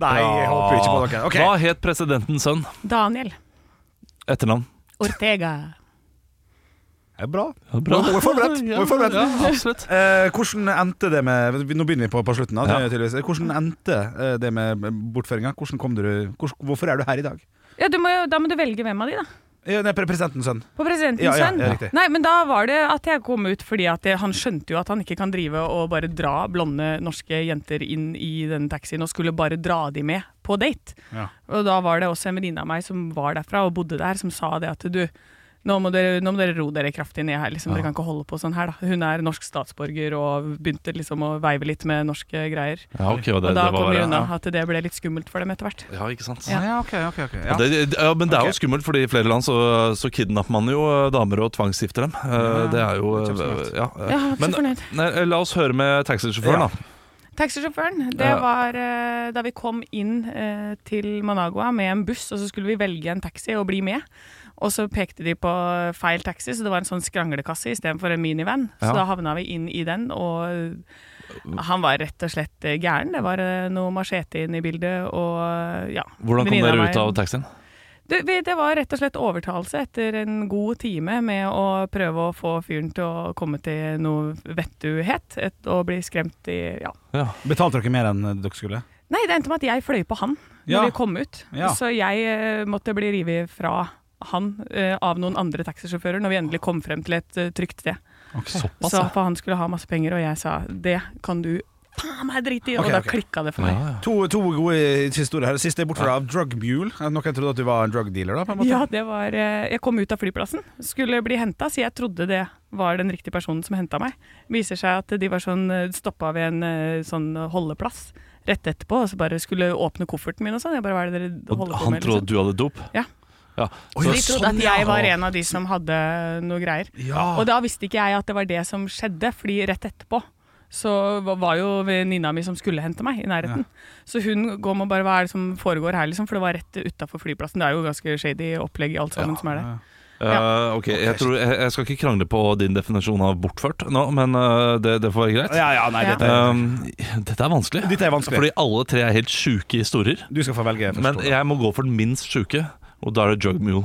Speaker 4: Nei, jeg håper ikke på noe. Ok.
Speaker 2: Hva het presidentens sønn?
Speaker 3: Daniel
Speaker 2: Etternavn?
Speaker 3: Ortega.
Speaker 4: Det er bra.
Speaker 2: Bra.
Speaker 4: Hun er forberedt. Hun er forberedt.
Speaker 2: Ja, absolutt.
Speaker 4: Eh, hvordan endte det med Nå begynner vi på, på slutten. Da, tydeligvis. Hvordan endte eh, det med bortføringa? Hvordan kom du, hvordan, hvorfor er du her i dag?
Speaker 3: Ja, du må jo, da må du velge hvem av de, da.
Speaker 4: Ja, det er pre- presidentens sønn.
Speaker 3: På presidentens
Speaker 4: Ja, ja,
Speaker 3: sønn?
Speaker 4: ja, riktig.
Speaker 3: Nei, men da var det at jeg kom ut fordi at det, han skjønte jo at han ikke kan drive og bare dra blonde norske jenter inn i den taxien og skulle bare dra de med på date.
Speaker 4: Ja.
Speaker 3: Og da var det også en venninne av meg som var derfra og bodde der, som sa det at du nå må, dere, nå må dere ro dere kraftig ned her, liksom. dere kan ikke holde på sånn her. da. Hun er norsk statsborger og begynte liksom å veive litt med norske greier.
Speaker 2: Ja, ok, og
Speaker 3: Og
Speaker 2: det,
Speaker 3: da
Speaker 2: det var
Speaker 3: kom vi
Speaker 2: bare-
Speaker 3: unna at det ble litt skummelt for dem etter hvert.
Speaker 2: Ja, ikke sant.
Speaker 3: Ja.
Speaker 4: ok, ok, ok ja.
Speaker 2: Ja. Det, det- ja, men det er
Speaker 4: Ok.
Speaker 2: jo skummelt, fordi i flere land så, så kidnapper man jo eh, damer og tvangsgifter dem. Eh, Det er jo
Speaker 4: det er kjempesmart.
Speaker 2: eh, ja.
Speaker 3: Ja, jeg er ikke
Speaker 2: Men
Speaker 3: så fornøyd.
Speaker 2: nei, eh, la oss høre med taxisjåføren,
Speaker 4: Ja.
Speaker 2: da.
Speaker 3: Taxisjåføren, det
Speaker 2: Ja.
Speaker 3: var eh, da vi kom inn eh, til Managua med en buss, og så skulle vi velge en taxi og bli med. Og så pekte de på feil taxi, så det var en sånn skranglekasse istedenfor en minivan. Så
Speaker 2: Ja.
Speaker 3: da havna vi inn i den, og han var rett og slett eh, gæren. Det var eh, noe machete inn i bildet, og eh, ja.
Speaker 2: Hvordan kom
Speaker 3: venninna
Speaker 2: dere
Speaker 3: meg-
Speaker 2: ut av taxien?
Speaker 3: du, vi, det var rett og slett overtalelse etter en god time med å prøve å få fyren til å komme til noe vettuhet, et- og bli skremt i ja,
Speaker 2: Ja.
Speaker 4: Betalte dere mer enn dere skulle?
Speaker 3: Nei, det endte med at jeg fløy på han når
Speaker 4: Ja.
Speaker 3: vi kom ut.
Speaker 4: Ja.
Speaker 3: Så jeg eh, måtte bli revet fra han eh, av noen andre taxisjåfører når vi endelig kom frem til et eh, trygt sted.
Speaker 2: Såpass,
Speaker 3: Så
Speaker 2: ja.
Speaker 3: For han skulle ha masse penger, og jeg sa det kan du faen meg drite i, og
Speaker 4: Ok,
Speaker 3: da
Speaker 4: ok.
Speaker 3: klikka det for
Speaker 2: Ja,
Speaker 3: meg.
Speaker 2: ja.
Speaker 4: To, to gode historier her. Siste er bortført av drug mule. Eh, Noen trodde at du var en drug dealer, da? på en måte
Speaker 3: Ja, det var eh, Jeg kom ut av flyplassen, skulle bli henta, så jeg trodde det var den riktige personen som henta meg. Viser seg at de var sånn stoppa ved en eh, sånn holdeplass rett etterpå, og så bare skulle åpne kofferten min og sånn. Jeg bare, hva er det dere
Speaker 2: Og
Speaker 3: holder på
Speaker 2: han
Speaker 3: med? liksom?
Speaker 2: trodde du hadde dop?
Speaker 3: Ja.
Speaker 2: Ja.
Speaker 3: Så
Speaker 2: Så-
Speaker 3: de trodde at jeg var en av de som hadde noe greier.
Speaker 4: Ja.
Speaker 3: Og da visste ikke jeg at det var det som skjedde, fordi rett etterpå så va- var jo venninna mi som skulle hente meg, i nærheten. Så hun går med og bare Hva er det som foregår her, liksom? For det var rett utafor flyplassen. Det er jo ganske shady opplegg i alt sammen som er der.
Speaker 2: Eh, ok, jeg, tror, jeg, jeg skal ikke krangle på din definisjon av bortført nå, men eh, det, det får være greit.
Speaker 4: Ja, ja, nei,
Speaker 3: Ja.
Speaker 4: dette,
Speaker 2: Um, dette er vanskelig.
Speaker 4: dette er vanskelig.
Speaker 2: Fordi alle tre er helt sjuke historier.
Speaker 4: du skal få velge først.
Speaker 2: Men
Speaker 4: Ola.
Speaker 2: jeg må gå for den minst sjuke, og da er det drug mule.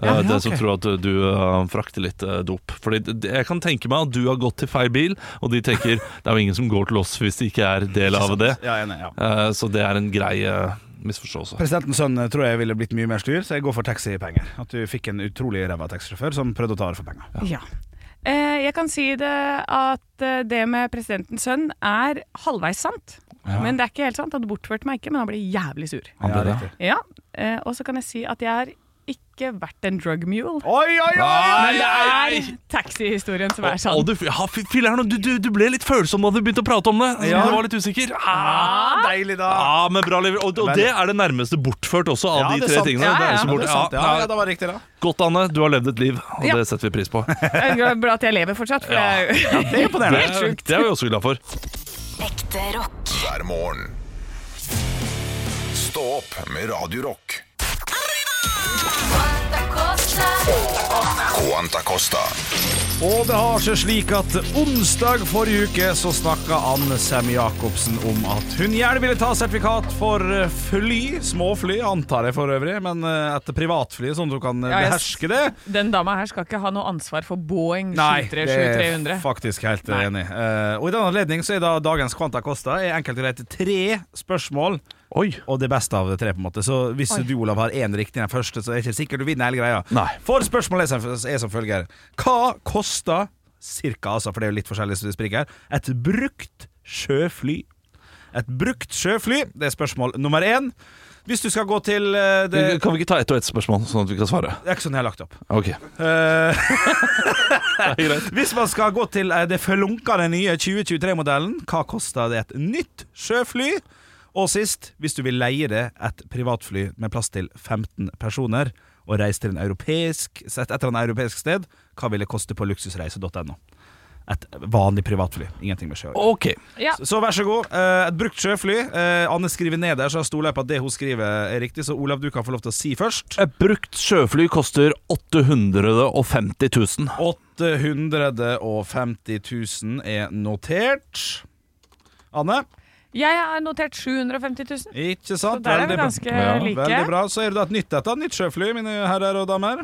Speaker 2: Eh,
Speaker 4: Ja, ja,
Speaker 2: det
Speaker 4: ok.
Speaker 2: som tror at du eh, frakter litt eh, dop. Fordi d- d- jeg kan tenke meg at du har gått til feil bil, og de tenker det er jo ingen som går til oss hvis de ikke er del av det.
Speaker 4: Ja, jeg er enig, ja.
Speaker 2: Eh, så det er en grei eh, misforståelse.
Speaker 4: Presidentens sønn eh, tror jeg ville blitt mye mer styr, så jeg går for taxipenger. At du fikk en utrolig ræva taxisjåfør som prøvde å ta det for penger.
Speaker 3: Ja. Eh, jeg kan si det at eh, det med presidentens sønn er halvveis sant. Men det er ikke helt sant. Han bortførte meg ikke, men han ble jævlig sur.
Speaker 2: Han ble det.
Speaker 4: riktig.
Speaker 3: Ja, eh, Og så kan jeg si at jeg har ikke vært en drug mule.
Speaker 4: Oi, oi, oi!
Speaker 3: Men det er taxihistorien som er sånn. sann.
Speaker 2: Og du, ja, fy- filler'n, du, du, du ble litt følsom da du begynte å prate om det. Så
Speaker 4: Ja.
Speaker 2: Du var litt usikker. Ah.
Speaker 4: Ah, deilig, da!
Speaker 2: Ja, men bra lever. Og, og
Speaker 4: Veldig.
Speaker 2: det er det nærmeste bortført også, av
Speaker 4: Ja,
Speaker 2: de
Speaker 4: det er
Speaker 2: tre
Speaker 4: sant.
Speaker 2: tingene.
Speaker 3: Ja,
Speaker 2: Det er
Speaker 3: ja.
Speaker 2: så bort-
Speaker 4: det er sant, ja,
Speaker 2: ja,
Speaker 4: ja, det var riktig, da.
Speaker 2: Godt, Anne. Du har levd et liv, og
Speaker 3: Ja.
Speaker 2: det setter vi pris på.
Speaker 3: Jeg er bra at jeg lever fortsatt, for det er jo
Speaker 4: Det er imponerende.
Speaker 3: helt sjukt.
Speaker 2: Det er vi også glad for.
Speaker 6: Ekte rock.
Speaker 1: hver morgen. Stå opp med Radio Rock. Quanta Costa.
Speaker 4: Og det har seg slik at onsdag forrige uke så snakka Anne Sem-Jacobsen om at hun gjerne ville ta sertifikat for eh, fly, småfly antar jeg for øvrig, men eh, et privatfly sånn at hun kan eh,
Speaker 3: Ja, jeg s-
Speaker 4: beherske det.
Speaker 3: Den dama her skal ikke ha noe ansvar for Boeing
Speaker 4: det er
Speaker 3: 737-300.
Speaker 4: faktisk helt eh,
Speaker 3: Nei.
Speaker 4: enig. Eh, og i den anledning så er da dagens Quanta Costa er enkelt og greit tre spørsmål.
Speaker 2: Oi.
Speaker 4: Og det beste av det tre, på en måte. Så hvis du, Olav, har én riktig i den første, så er det ikke sikkert du vinner hele greia.
Speaker 2: Nei.
Speaker 4: For spørsmålet er som, er som følger. Hva koster cirka, altså, for det er jo litt forskjellig sprik her, et brukt sjøfly. Et brukt sjøfly, det er spørsmål nummer én. Hvis du skal gå til eh, det
Speaker 2: Kan vi ikke ta ett og ett spørsmål, sånn at vi kan svare?
Speaker 4: det er ikke sånn jeg har lagt opp.
Speaker 2: Ok,
Speaker 4: Eh,
Speaker 2: det er greit
Speaker 4: hvis man skal gå til eh, det forlunkende nye 2023-modellen, hva koster det et nytt sjøfly? Og sist, hvis du vil leie det et privatfly med plass til 15 personer og reise til en europeisk, et eller annet europeisk sted, hva vil det koste på luksusreise.no? Et vanlig privatfly. Ingenting med sjø. å gjøre.
Speaker 2: Ok,
Speaker 3: Ja.
Speaker 4: Så vær så god. eh, Et brukt sjøfly. Eh, Anne skriver ned der, så jeg stoler på at det hun skriver, er riktig. Så Olav, du kan få lov til å si først.
Speaker 2: Et brukt sjøfly koster 850 000
Speaker 4: 850 000 er notert. Anne,
Speaker 3: Jeg har notert 750 000.
Speaker 4: ikke
Speaker 3: Så
Speaker 4: sant?
Speaker 3: der er vi
Speaker 4: Veldig bra.
Speaker 3: ganske
Speaker 2: Ja,
Speaker 4: Veldig
Speaker 3: like.
Speaker 4: bra. Så er det da et nytt et, da. Nytt sjøfly, mine herrer og damer.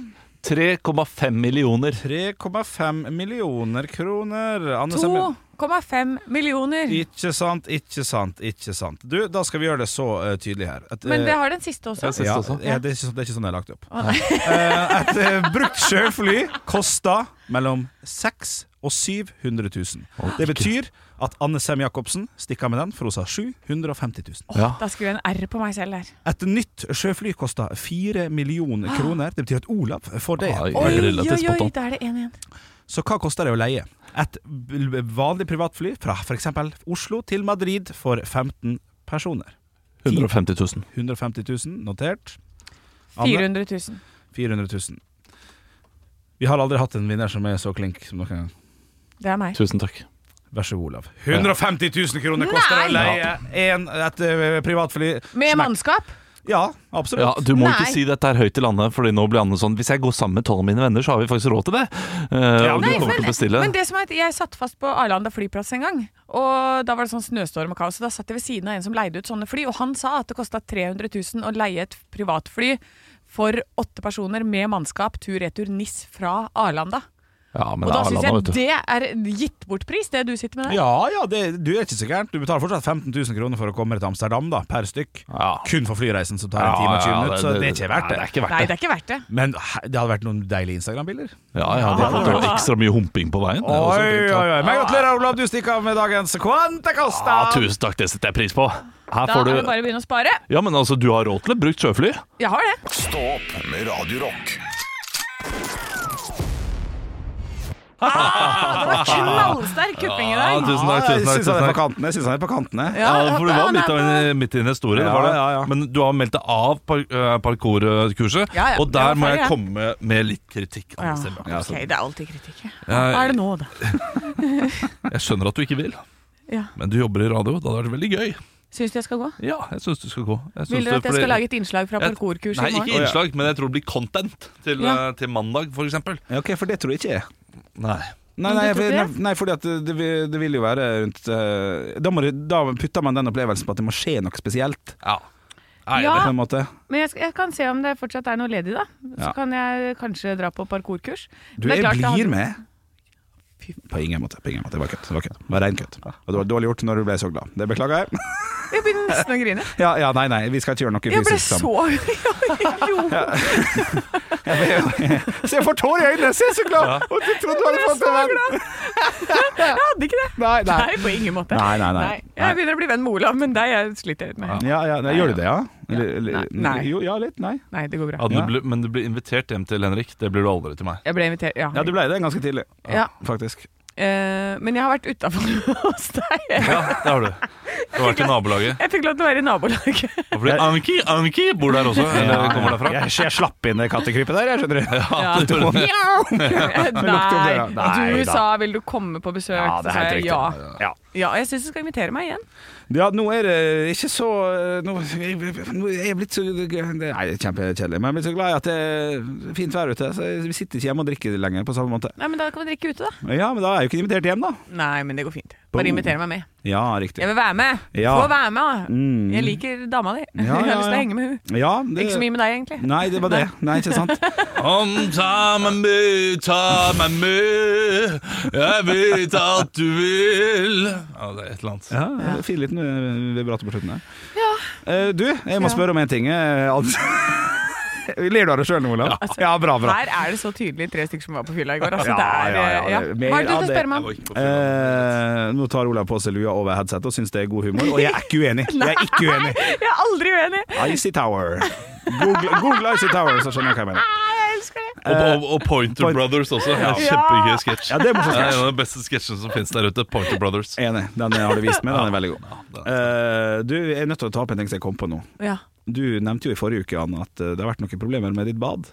Speaker 2: 3,5 millioner
Speaker 4: 3,5 millioner kroner. Anne Semmer-
Speaker 3: 2,5 millioner.
Speaker 4: Ikke sant, ikke sant, ikke sant. Du, da skal vi gjøre det så eh, tydelig her. Et,
Speaker 3: Men det
Speaker 4: eh,
Speaker 3: har den siste også.
Speaker 2: siste
Speaker 4: ja,
Speaker 2: også.
Speaker 4: ja, det, er ikke, sånn- det er ikke sånn jeg har lagt det opp. Eh, et eh, brukt sjøfly koster mellom 600 000 og 700 000. Det betyr at Anne Sem Jacobsen stikker av med den, for hun sa 750 000.
Speaker 2: ja.
Speaker 3: Da skriver jeg en R på meg selv her.
Speaker 4: Et nytt sjøfly koster 4 millioner kroner. Det betyr at Olav får det.
Speaker 2: Oi,
Speaker 3: Oi, oi,
Speaker 2: relativt
Speaker 3: oi,
Speaker 2: spontant.
Speaker 3: da er det én igjen.
Speaker 4: Så hva koster det å leie? Et b- vanlig privatfly fra f.eks. Oslo til Madrid for 15 personer.
Speaker 2: 150 000
Speaker 4: 150 000 notert. Anne,
Speaker 3: 400 000.
Speaker 4: 400 000. Vi har aldri hatt en vinner som er så klink som dere.
Speaker 3: Det er meg.
Speaker 2: Tusen takk
Speaker 4: Vær så god, Olav. 150 000 kroner koster det å
Speaker 3: Nei!
Speaker 4: leie en, et ø, privatfly.
Speaker 3: Med
Speaker 4: Smekk.
Speaker 3: mannskap.
Speaker 4: Ja,
Speaker 2: ja,
Speaker 4: absolutt.
Speaker 2: Du må
Speaker 3: Nei.
Speaker 2: ikke si dette her høyt til Anne Fordi nå blir Anne sånn Hvis jeg går sammen med 12 av mine venner Så har vi faktisk råd til det Eh,
Speaker 4: Ja,
Speaker 2: Og du
Speaker 4: nei,
Speaker 2: kommer til å bestille
Speaker 3: Men det som er at jeg satt fast på Arlanda flyplass en gang, og da var det sånn snøstorm og kaos. Og da satt jeg ved siden av en som leide ut sånne fly, og han sa at det kosta 300 000 å leie et privatfly for åtte personer med mannskap tur-retur NIS fra Arlanda.
Speaker 2: Ja, men
Speaker 3: Og
Speaker 2: det
Speaker 3: da
Speaker 2: er
Speaker 3: syns
Speaker 2: Arlanda,
Speaker 3: jeg
Speaker 2: vet du
Speaker 3: det er gitt bort pris, det du sitter med der.
Speaker 4: Ja, ja, det, du er ikke så gærent. Du betaler fortsatt 15 000 kroner for å komme til Amsterdam da, per stykk.
Speaker 2: Ja.
Speaker 4: Kun for flyreisen, som tar en time og 20 minutter. Så det er ikke verdt
Speaker 2: Nei, det er
Speaker 4: det.
Speaker 2: ikke verdt
Speaker 3: Nei,
Speaker 2: det
Speaker 3: det er ikke verdt det.
Speaker 4: Men he- det hadde vært noen deilige Instagram-bilder.
Speaker 2: Ja, ja, det hadde vært ekstra mye humping på veien Det
Speaker 4: Oi,
Speaker 2: er også
Speaker 4: oi,
Speaker 2: fint, da.
Speaker 4: oi. Men gratulerer, Olav. Du stikker av med dagens Quante Costa.
Speaker 2: Ja, tusen takk, det setter jeg pris på Her
Speaker 3: Da
Speaker 2: får
Speaker 3: er det
Speaker 2: du
Speaker 3: bare å begynne å spare.
Speaker 2: Ja, men altså, du har råd til et brukt sjøfly
Speaker 3: Jeg har det.
Speaker 1: Stå opp med Radio Rock.
Speaker 3: Ah, det var knallsterk kupping i
Speaker 2: Ja,
Speaker 3: dag.
Speaker 2: tusen takk,
Speaker 4: Ja, jeg
Speaker 2: tusen takk,
Speaker 4: syns han
Speaker 2: tusen
Speaker 4: er
Speaker 2: takk.
Speaker 4: på kantene. Jeg synes han er på kantene.
Speaker 2: Ja, for du var
Speaker 3: han er
Speaker 2: midt, av en, midt i en historie, det
Speaker 4: Ja,
Speaker 2: var det.
Speaker 4: ja, ja.
Speaker 2: Men du har meldt deg av par eh, parkourkurset,
Speaker 3: Ja, ja,
Speaker 2: og
Speaker 3: det var
Speaker 2: der må
Speaker 3: ferdig,
Speaker 2: jeg
Speaker 3: ja.
Speaker 2: komme med litt kritikk.
Speaker 3: Ja.
Speaker 2: Anne Selma.
Speaker 3: Ok, det er alltid kritikk. ja.
Speaker 2: Ja.
Speaker 3: Hva er det nå, da?
Speaker 2: Jeg skjønner at du ikke vil,
Speaker 3: Ja.
Speaker 2: men du jobber i radio. Da hadde det vært veldig gøy.
Speaker 3: Syns du jeg skal gå?
Speaker 2: Ja, jeg syns du skal gå. Jeg syns
Speaker 3: Vil dere
Speaker 2: det-
Speaker 3: at jeg
Speaker 2: fordi-
Speaker 3: skal lage et innslag fra
Speaker 2: Jeg-
Speaker 3: parkourkurs
Speaker 2: Nei,
Speaker 3: i morgen?
Speaker 2: ikke innslag, men jeg tror det blir content til,
Speaker 3: Ja.
Speaker 2: eh, til mandag, for eksempel.
Speaker 4: Ja, ok, for det tror jeg ikke jeg.
Speaker 2: Nei.
Speaker 4: Nei,
Speaker 3: Men
Speaker 4: nei,
Speaker 3: du tror
Speaker 4: for,
Speaker 3: ikke det?
Speaker 4: nei, fordi at det, vil- det vil jo være rundt eh, da, må, du- da putter man den opplevelsen på at det må skje noe spesielt.
Speaker 2: Ja. Nei,
Speaker 3: Ja.
Speaker 4: På en måte.
Speaker 3: Men jeg, skal, jeg kan se om det fortsatt er noe ledig, da. Så
Speaker 4: Ja.
Speaker 3: kan jeg kanskje dra på parkourkurs.
Speaker 4: Du,
Speaker 3: Men det
Speaker 4: jeg
Speaker 3: er klart det
Speaker 4: blir
Speaker 3: hadde-
Speaker 4: med.
Speaker 3: Fy faen.
Speaker 4: På ingen måte. på ingen måte Det var kødd. Det var, kødd. Det var rein kødd. Og det var dårlig gjort når du ble så glad. Det beklager jeg.
Speaker 3: Jeg begynner nesten å grine.
Speaker 4: Ja, ja, nei, nei, vi skal ikke gjøre noe
Speaker 3: Jeg ble
Speaker 4: fysisk
Speaker 3: så
Speaker 4: sammen.
Speaker 3: Jeg lo.
Speaker 4: Se, jeg får tårer i øynene! Se, så glad! Og du trodde du hadde fått det
Speaker 3: Jeg
Speaker 4: venn.
Speaker 3: Jeg hadde ikke det.
Speaker 4: Nei, nei.
Speaker 3: Nei, på ingen måte.
Speaker 4: Nei, nei, nei.
Speaker 3: Jeg begynner å bli venn med Olav, men deg jeg sliter jeg litt med.
Speaker 4: Ja, ja, nei, gjør du det, ja? Eller- eller-
Speaker 3: Nei.
Speaker 4: Jo, ja, litt. Nei.
Speaker 3: Nei, det går bra.
Speaker 2: Ja, du
Speaker 4: Ja.
Speaker 2: ble, men du blir invitert hjem til Henrik. Det blir du aldri til meg.
Speaker 3: Jeg ble invitert, ja.
Speaker 4: Ja, du ble det ganske tidlig,
Speaker 3: Ja.
Speaker 4: faktisk.
Speaker 3: Eh, men jeg har vært utafor hos deg.
Speaker 2: Ja, det har du. Du har vært i nabolaget.
Speaker 3: Jeg fikk lov til å være i nabolaget.
Speaker 2: Og Fordi Anki, Anki bor der også. Eller kommer derfra.
Speaker 4: Jeg, jeg slapp inn det kattekrypet der, jeg skjønner du.
Speaker 3: Ja.
Speaker 2: det gjorde det.
Speaker 3: Nei,
Speaker 4: døra. Nei
Speaker 3: du
Speaker 4: da.
Speaker 3: sa 'vil du komme på besøk'?
Speaker 4: Ja, det er
Speaker 3: Så sa
Speaker 4: helt
Speaker 3: jeg
Speaker 4: riktig.
Speaker 3: ja.
Speaker 4: Ja.
Speaker 3: ja. Jeg syns du skal invitere meg igjen.
Speaker 4: Ja, nå er det ikke så eh, Nå, jeg, nå er jeg blitt så Nei, det er kjempekjedelig, men jeg er blitt så glad i at det er fint vær ute. Så jeg- vi sitter ikke hjemme og drikker lenger på samme måte.
Speaker 3: Nei, men Da kan vi drikke ute, da.
Speaker 4: Ja, men da er jeg jo ikke invitert hjem, da.
Speaker 3: Nei, men det går fint.
Speaker 4: Boom.
Speaker 3: Bare inviter meg med.
Speaker 4: Ja,
Speaker 3: Jeg
Speaker 4: riktig.
Speaker 3: vil være med!
Speaker 4: Ja.
Speaker 3: Få være med! da.
Speaker 4: Mm.
Speaker 3: Jeg liker dama di.
Speaker 4: Ja,
Speaker 3: Jeg
Speaker 4: ja,
Speaker 3: har lyst til
Speaker 4: ja. Mm.
Speaker 3: å henge med hun.
Speaker 4: Ja, det,
Speaker 3: Ikke så mye med deg, egentlig.
Speaker 4: Nei, det var det. Nei, ikke sant?
Speaker 2: Om ta meg med, ta meg med, jeg vet at du vil Ja, det er et eller annet.
Speaker 4: Ja, Fin liten eh, vibrator på slutten der.
Speaker 3: Ja.
Speaker 4: Eh, Du, jeg må
Speaker 3: Ja.
Speaker 4: spørre om en ting. eh, altså. Ler du av deg sjøl nå, Olav?
Speaker 3: Altså,
Speaker 4: Ja, bra, bra.
Speaker 3: Her er det så tydelig tre stykker som var på fylla i går. Altså,
Speaker 4: Ja,
Speaker 3: det er,
Speaker 4: ja, ja,
Speaker 3: eh, ja. Hva er
Speaker 4: det-
Speaker 3: det du
Speaker 4: Ja,
Speaker 3: skal
Speaker 4: det-
Speaker 3: spørre meg
Speaker 2: Jeg
Speaker 3: om?
Speaker 2: var ikke på fylla.
Speaker 4: Eh, nå tar Olav på seg lua over headset og syns det er god humor, og jeg er ikke uenig. Jeg er ikke uenig.
Speaker 3: Jeg er aldri uenig!
Speaker 4: Icy Tower. Google, Google Icy Tower, så skjønner jeg hva jeg mener.
Speaker 3: Nei, jeg elsker det!
Speaker 2: Og, og, og Pointer
Speaker 4: Point-
Speaker 2: Brothers også. Eh, Ja.
Speaker 3: Ja.
Speaker 2: Kjempegøy sketsj.
Speaker 4: Ja, det er morsomt.
Speaker 2: Det er en av de beste sketsjene som finnes der ute. Pointer Brothers.
Speaker 4: Enig. Den har du vist meg, den er veldig god.
Speaker 2: Ja, det er-
Speaker 4: Eh, du, jeg er nødt til å ta opp en ting som jeg kom på nå.
Speaker 3: Ja.
Speaker 4: Du nevnte jo i forrige uke Anne, at eh, det har vært noen problemer med ditt bad.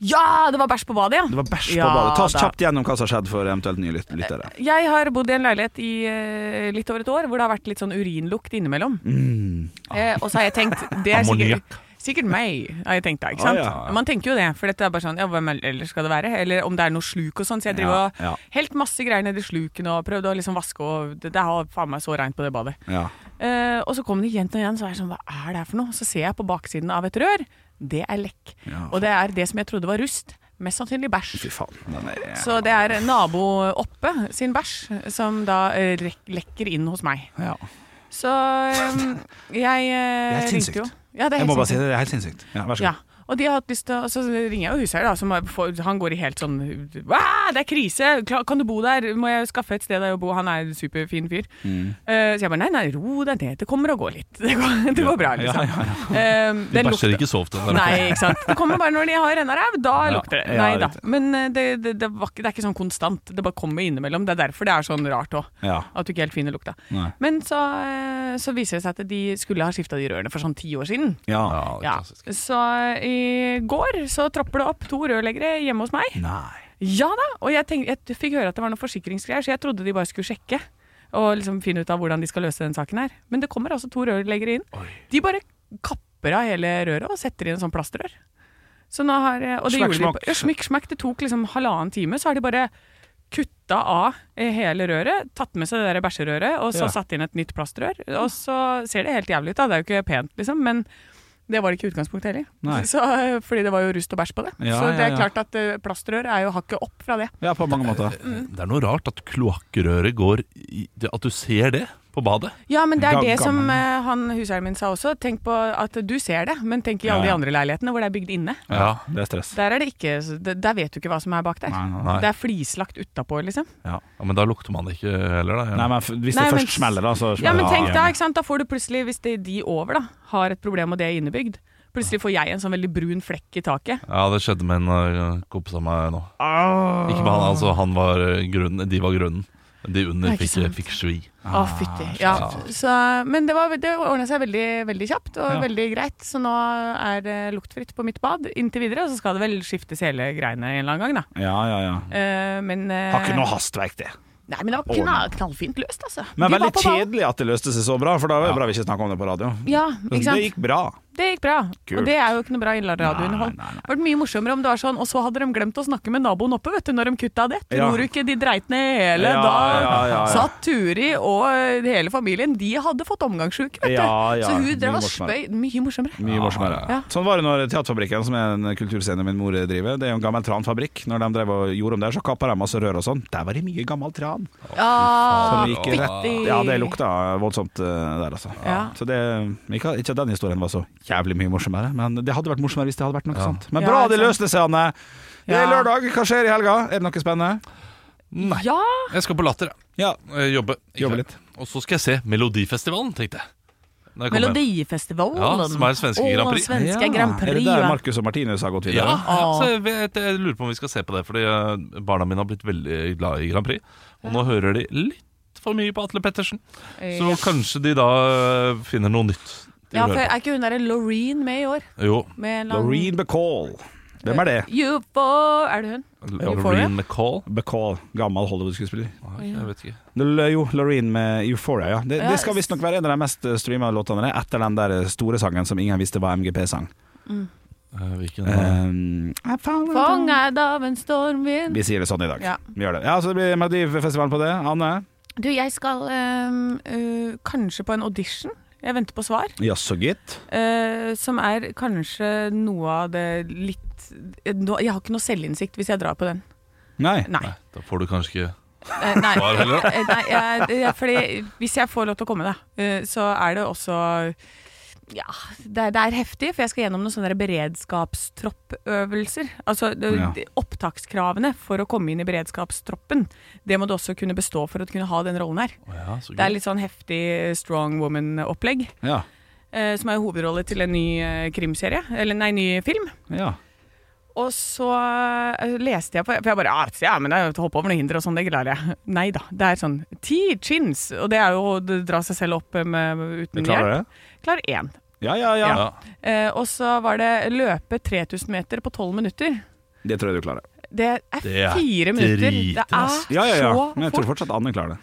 Speaker 3: ja, det var bæsj på badet, ja!
Speaker 4: Det var bæsj på
Speaker 3: Ja,
Speaker 4: badet. Ta oss
Speaker 3: da. Eh,
Speaker 4: kjapt gjennom hva som har skjedd for eventuelt nye lyt- lyttere.
Speaker 3: Jeg har bodd i en leilighet i eh, litt over et år hvor det har vært litt sånn urinlukt innimellom.
Speaker 4: Mm.
Speaker 3: Eh, og så har jeg tenkt Det er
Speaker 2: Ammoniakk.
Speaker 3: sikkert, sikkert meg, har jeg tenkt da. Ikke sant?
Speaker 4: Ah, ja, ja.
Speaker 3: Man tenker jo det, for dette er bare sånn Ja, hvem ellers skal det være? Eller om det er noe sluk og sånn. Så jeg driver
Speaker 4: Ja,
Speaker 3: og
Speaker 4: ja.
Speaker 3: helt masse greier nedi sluken og prøvde å liksom vaske og Det, det har faen meg så reint på det badet.
Speaker 4: Ja.
Speaker 3: Eh, og så kom det igjen og igjen, så er jeg sånn Hva er det her for noe? Så ser jeg på baksiden av et rør. Det er lekk.
Speaker 4: Ja.
Speaker 3: Og det er det som jeg trodde var rust. Mest sannsynlig bæsj.
Speaker 4: Fy faen. Den er
Speaker 3: Så det er nabo oppe sin bæsj som da eh, rek- lekker inn hos meg.
Speaker 4: ja.
Speaker 3: Så um, jeg eh,
Speaker 4: helt
Speaker 3: ringte jo.
Speaker 4: sinnssykt.
Speaker 3: Ja, det er
Speaker 4: Jeg må
Speaker 3: helt
Speaker 4: bare si
Speaker 3: sinnssykt.
Speaker 4: det, det er helt sinnssykt. Ja, vær så
Speaker 3: Ja.
Speaker 4: god.
Speaker 3: Og de har hatt lyst til å, så ringer jeg jo husheier, da. Som er, for, han går i helt sånn «Wow, Det er krise! Kla- Kan du bo der? Må jeg skaffe et sted der å bo? Han er en superfin fyr.
Speaker 4: Mm.
Speaker 3: Eh, så jeg bare nei, nei, ro deg ned. Det kommer og går litt. Det går, det går bra, liksom. Eh,
Speaker 2: De
Speaker 3: den
Speaker 2: bæsjer
Speaker 3: lukta-
Speaker 2: ikke sov til
Speaker 3: Nei,
Speaker 2: hverandre.
Speaker 3: ikke sant. Det kommer bare når de har rennaræv. Da
Speaker 4: Ja,
Speaker 3: lukter det.
Speaker 4: ja,
Speaker 3: Nei da.
Speaker 4: riktig.
Speaker 3: Men eh, det, det, det, var ikke, det er ikke sånn konstant. Det bare kommer innimellom. Det er derfor det er sånn rart òg.
Speaker 4: Ja.
Speaker 3: At du ikke helt finner lukta.
Speaker 4: Nei.
Speaker 3: Men så, eh, så viser det seg at de skulle ha skifta de rørene for sånn ti år siden.
Speaker 4: Ja.
Speaker 2: Ja, det er
Speaker 3: Ja.
Speaker 2: klassisk.
Speaker 3: Så eh, i går så tropper det opp to rørleggere hjemme hos meg.
Speaker 4: Nei.
Speaker 3: Ja da, og jeg, tenk- jeg fikk høre at det var noen forsikringsgreier, så jeg trodde de bare skulle sjekke. Og liksom finne ut av hvordan de skal løse den saken her. Men det kommer altså to rørleggere inn. De bare kapper av hele røret og setter inn sånn plastrør. Så nå har, eh, og det
Speaker 4: Smekk,
Speaker 3: gjorde de
Speaker 4: smakk.
Speaker 3: på- ja, smekk, smekk. Det tok liksom halvannen time, så har de bare kutta av eh, hele røret, tatt med seg det der bæsjerøret, og så
Speaker 4: Ja.
Speaker 3: satt inn et nytt plastrør. Og så ser det helt jævlig ut, da. Det er jo ikke pent, liksom. Men det var det ikke i utgangspunktet
Speaker 4: Nei.
Speaker 3: heller. Så, eh, fordi det var jo rust og bæsj på det.
Speaker 4: Ja,
Speaker 3: så det er
Speaker 4: ja, ja.
Speaker 3: klart at eh, plastrør er jo hakket opp fra det.
Speaker 4: Ja, på mange måter.
Speaker 2: Det er noe rart at kloakkrøret går i, At du ser det på badet.
Speaker 3: Ja, men det er
Speaker 4: Ga-
Speaker 3: det som
Speaker 4: gammel.
Speaker 3: eh, han huseieren min sa også. Tenk på at du ser det, men tenk i alle
Speaker 4: Ja, ja.
Speaker 3: de andre leilighetene hvor det er bygd inne.
Speaker 4: Ja, det er stress.
Speaker 3: Der, er det ikke, der der vet du ikke hva som er bak der.
Speaker 4: Nei, nei,
Speaker 2: nei.
Speaker 3: Det er flislagt utapå, liksom.
Speaker 2: Ja, Men da lukter man det ikke heller, da.
Speaker 4: Nei, men f- hvis
Speaker 3: Nei,
Speaker 4: det
Speaker 3: men-
Speaker 4: først smeller, da, så
Speaker 3: Ja,
Speaker 4: smeller
Speaker 3: men
Speaker 4: det.
Speaker 3: tenk da, ikke sant? da får du plutselig, hvis det er de over da, har et problem og det er innebygd, plutselig får jeg en sånn veldig brun flekk i taket.
Speaker 2: Ja, det skjedde med en eh, kompis av meg nå. Ikke med han, altså. Han var eh, grunnen. De var grunnen. De under
Speaker 3: Nei, ikke
Speaker 2: fikk, eh,
Speaker 3: sant.
Speaker 2: fikk svi.
Speaker 3: Å,
Speaker 4: Ah,
Speaker 3: fytti. Ja. Så, men det, var- det ordna seg veldig, veldig kjapt og veldig greit, så nå er det luktfritt på mitt bad inntil videre. Og så skal det vel skiftes hele greiene en eller annen gang, da.
Speaker 4: Ja, ja, ja.
Speaker 3: Eh, men, eh,
Speaker 4: Har ikke noe hastverk, det.
Speaker 3: Nei, men det var knall, knallfint løst, altså.
Speaker 4: Men
Speaker 3: De var
Speaker 4: veldig
Speaker 3: på ballen.
Speaker 4: kjedelig at det løste seg så bra, for da var det bra vi ikke snakka om det på radio.
Speaker 3: Ja, ikke sant?
Speaker 4: Det gikk bra.
Speaker 3: Det gikk bra.
Speaker 4: Kult.
Speaker 3: Og det er jo ikke noe bra
Speaker 4: Nei,
Speaker 3: innradiounderhold.
Speaker 4: nei, nei.
Speaker 3: Det hadde vært mye morsommere om det var sånn, og så hadde de glemt å snakke med naboen oppe, vet du, når de kutta det.
Speaker 4: Ja.
Speaker 3: Tror du ikke de dreit ned hele
Speaker 4: Ja,
Speaker 3: da?
Speaker 4: ja, ja, ja.
Speaker 3: Satt Turi og eh, hele familien, de hadde fått omgangssjuke, vet du.
Speaker 4: Ja, ja.
Speaker 3: Så hun
Speaker 4: Mye
Speaker 3: drev og
Speaker 4: morsommere.
Speaker 3: spøy Mye morsommere.
Speaker 4: Mye morsommere.
Speaker 3: Ja.
Speaker 4: Sånn var det når Teaterfabrikken, som er en kulturscene min mor driver, det er jo en gammel tranfabrikk. Når de drev og gjorde om der, så kappa de masse rør og sånn. Der var det mye gammel tran.
Speaker 3: Ja,
Speaker 4: Som gikk i rett
Speaker 3: Ah, fytti.
Speaker 4: Ja, det lukta voldsomt eh, der, altså.
Speaker 3: Ja.
Speaker 4: Så det, ikke, ikke at den historien var så jævlig mye morsommere, men det hadde vært morsommere hvis det hadde vært noe sånt. Men
Speaker 3: Ja,
Speaker 4: bra
Speaker 3: ikke
Speaker 4: det løste seg, Anne! Det er
Speaker 3: Ja.
Speaker 4: lørdag, hva skjer i helga? Er det noe spennende?
Speaker 2: Nei.
Speaker 3: Ja,
Speaker 2: Jeg skal på Latter, jeg.
Speaker 4: Ja,
Speaker 2: Eh, Jobbe. i
Speaker 4: Jobbe
Speaker 2: kveld.
Speaker 4: litt.
Speaker 2: Og så skal jeg se Melodifestivalen, tenkte jeg. Når jeg kommer hjem.
Speaker 3: Melodifestivalen.
Speaker 2: Ja, som er svenske
Speaker 3: Å,
Speaker 2: Grand Prix.
Speaker 3: Svenske
Speaker 4: Ja.
Speaker 3: Grand
Speaker 4: Er det
Speaker 3: Prix.
Speaker 4: der
Speaker 3: ja.
Speaker 4: Marcus og Martinus har gått
Speaker 2: Ja,
Speaker 4: videre?
Speaker 2: ja, så jeg, vet, jeg lurer på om vi skal se på det, fordi eh, barna mine har blitt veldig glad i Grand Prix. Og nå hører de litt for mye på Atle Pettersen, så kanskje de da eh, finner noe nytt. de
Speaker 3: Ja,
Speaker 2: vil
Speaker 3: for
Speaker 2: høre
Speaker 3: er ikke hun derre Laureen med i år?
Speaker 2: på. Jo,
Speaker 3: Med en eller annen-
Speaker 4: Loreen Bacall. Hvem er det?
Speaker 3: Euphor Er det hun?
Speaker 2: Loreen McCall.
Speaker 4: Bacall, gammel Hollywood-skuespiller.
Speaker 2: Jeg vet ikke.
Speaker 4: L- Jo, Loreen med Euphoria, ja. Det,
Speaker 3: Ja,
Speaker 4: det skal visstnok være en av de mest streama låtene det, etter den der store sangen som ingen visste var MGP-sang.
Speaker 2: Eh, Hvilken
Speaker 4: Um, I found-
Speaker 3: Fanget av en stormvind
Speaker 4: vi sier det sånn i dag.
Speaker 3: Ja.
Speaker 4: Vi gjør det. Ja, Så det blir Melodifestivalen på det. Anne?
Speaker 3: Du, jeg skal ehm, øh, kanskje på en audition. Jeg venter på svar.
Speaker 4: Jaså, gitt.
Speaker 3: eh, som er kanskje noe av det litt eh, nå- Jeg har ikke noe selvinnsikt hvis jeg drar på den.
Speaker 4: Nei.
Speaker 3: Nei.
Speaker 2: Nei, da får du kanskje ikke
Speaker 3: Eh, nei.
Speaker 2: Svar heller, da?
Speaker 3: Eh, nei jeg, jeg, fordi hvis jeg får lov til å komme, da, eh, så er det også Ja, det, er- det er heftig, for jeg skal gjennom noen sånne der beredskapstroppøvelser. Altså det,
Speaker 4: Ja.
Speaker 3: det- opptakskravene for å komme inn i beredskapstroppen, det må du også kunne bestå for å kunne ha den rollen her.
Speaker 2: Ja, så
Speaker 3: Det er
Speaker 2: gøy.
Speaker 3: litt sånn heftig strong woman-opplegg,
Speaker 4: Ja.
Speaker 3: eh, som er hovedrolle til en ny eh, krimserie, eller nei, ny film.
Speaker 4: ja.
Speaker 3: Og så eh, leste jeg på For jeg bare ah, ja, men jeg hopper over noen hinder og sånn, det klarer jeg. Nei da. Det er sånn ti chins, og det er jo å dra seg selv opp eh, med,
Speaker 4: Du
Speaker 3: uten
Speaker 4: klarer
Speaker 3: hjelp.
Speaker 4: det?
Speaker 3: Klarer én.
Speaker 4: Ja, ja, ja,
Speaker 2: Ja.
Speaker 3: Eh, og så var det løpe 3000 meter på 12 minutter.
Speaker 4: Det tror jeg du klarer.
Speaker 3: Det er
Speaker 2: Det er
Speaker 3: fire minutter. Det er
Speaker 2: ass.
Speaker 4: Ja, ja, ja.
Speaker 3: så
Speaker 4: Men jeg
Speaker 3: fort.
Speaker 4: tror fortsatt Anne klarer det.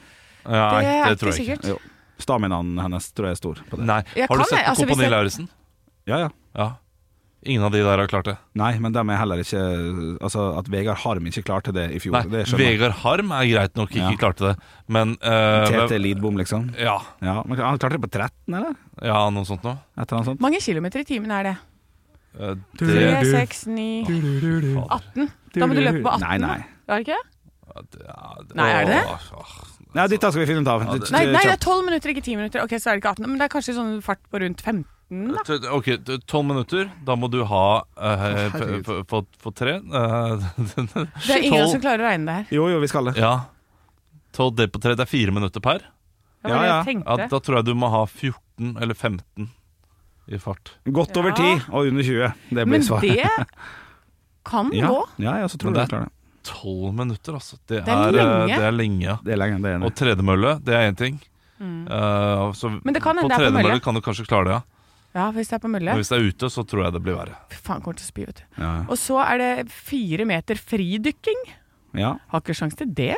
Speaker 2: Nei,
Speaker 3: det
Speaker 2: det
Speaker 3: er
Speaker 2: tror
Speaker 3: ikke
Speaker 2: jeg ikke.
Speaker 3: sikkert.
Speaker 4: Jo. Staminaen hennes tror jeg er stor på det.
Speaker 2: Nei.
Speaker 3: Jeg
Speaker 2: Har
Speaker 3: kan
Speaker 2: du sett
Speaker 3: det,
Speaker 2: på
Speaker 3: altså, hvis
Speaker 2: Kompani
Speaker 3: jeg-
Speaker 2: Lauritzen?
Speaker 4: Ja, ja.
Speaker 2: Ja. Ingen av de der har klart det.
Speaker 4: Nei, men dem er heller ikke Altså, at Vegard Harm ikke klarte det i fjor,
Speaker 2: Nei,
Speaker 4: det skjønner jeg.
Speaker 2: Vegard Harm er greit nok ikke
Speaker 4: Ja.
Speaker 2: klarte det, men eh,
Speaker 4: TT
Speaker 2: hvem-
Speaker 4: Lidbom, liksom.
Speaker 2: ja,
Speaker 4: Ja, men Han klarte det på 13, eller?
Speaker 2: ja, noe sånt noe.
Speaker 4: Et eller annet sånt.
Speaker 3: Mange kilometer i timen er det?
Speaker 2: Eh,
Speaker 3: Tre,
Speaker 2: det,
Speaker 3: seks, ni
Speaker 2: fader.
Speaker 3: 18. Da må du løpe på 18.
Speaker 4: Nei, nei.
Speaker 3: Er det ikke? det?
Speaker 2: Ja, det- ja, det-
Speaker 3: Nei, er det det?
Speaker 2: Åh, åh.
Speaker 4: Nei, Dette skal vi finne ut av.
Speaker 2: Ja, det-
Speaker 3: Nei, nei, det er
Speaker 4: Kjapt.
Speaker 3: 12 minutter, ikke 10 minutter. Ok, så er det ikke 18. Men det er kanskje sånn fart på rundt 15, da.
Speaker 2: T- Ok, t- tolv minutter. Da må du ha eh,
Speaker 4: herregud.
Speaker 2: f- f- fått fått tre. eh,
Speaker 3: Det er ingen av oss som
Speaker 2: Tolv.
Speaker 3: klarer å regne det her.
Speaker 4: Jo, jo, vi skal det.
Speaker 2: ja. Tolv delt på tre, det er fire minutter per.
Speaker 3: Det var
Speaker 4: Ja,
Speaker 3: det
Speaker 4: ja.
Speaker 3: jeg
Speaker 2: Ja,
Speaker 3: tenkte.
Speaker 2: da tror jeg du må ha 14 eller 15 i fart.
Speaker 4: Godt over
Speaker 3: Ja.
Speaker 4: 10 og under 20. Det blir
Speaker 3: Men
Speaker 4: svaret.
Speaker 3: det kan
Speaker 4: ja.
Speaker 3: gå.
Speaker 4: Ja, ja, så tror
Speaker 2: Men
Speaker 4: jeg
Speaker 2: det
Speaker 4: du klarer det.
Speaker 2: Tolv minutter, altså. Det
Speaker 3: Det er
Speaker 2: er, eh,
Speaker 3: lenge.
Speaker 2: det er lenge. ja.
Speaker 4: Det er lenge, det er enig.
Speaker 2: Og tredemølle, det er én ting.
Speaker 3: Mm.
Speaker 2: Eh, så
Speaker 3: Men det kan hende
Speaker 2: på
Speaker 3: det er på
Speaker 2: tredemølle
Speaker 3: mølle.
Speaker 2: kan du kanskje klare det, ja.
Speaker 3: Ja, hvis det er på mølle.
Speaker 2: Men hvis det er ute, så tror jeg det blir verre.
Speaker 3: Fy faen, kommer til å spy, vet du.
Speaker 4: Ja.
Speaker 3: Og så er det fire meter fridykking.
Speaker 4: ja.
Speaker 3: Har ikke sjans til det.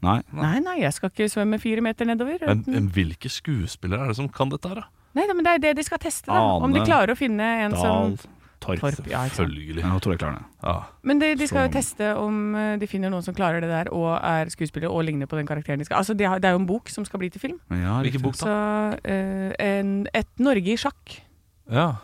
Speaker 4: Nei. eh,
Speaker 3: Nei, nei, jeg skal ikke svømme fire meter nedover.
Speaker 2: Men, men hvilke skuespillere er det som kan dette her, da?
Speaker 3: Nei, da, men det er det de skal teste, da. Om de
Speaker 4: Ane
Speaker 3: klarer å finne en
Speaker 4: Dahl.
Speaker 3: som
Speaker 4: Torp.
Speaker 3: Torp. Ja, ikke sant.
Speaker 2: Følgelig.
Speaker 4: Ja, jeg tror jeg klarer det.
Speaker 2: Ja.
Speaker 3: Men de, de skal jo
Speaker 4: Som-
Speaker 3: teste om eh, de finner noen som klarer det der, og er skuespiller og ligner på den karakteren de skal Altså, de har, det er jo en bok som skal bli til film.
Speaker 4: Ja,
Speaker 2: Hvilken
Speaker 4: riktig.
Speaker 2: bok,
Speaker 3: Så
Speaker 2: da?
Speaker 3: eh, en, Et Norge i sjakk.
Speaker 2: Ja.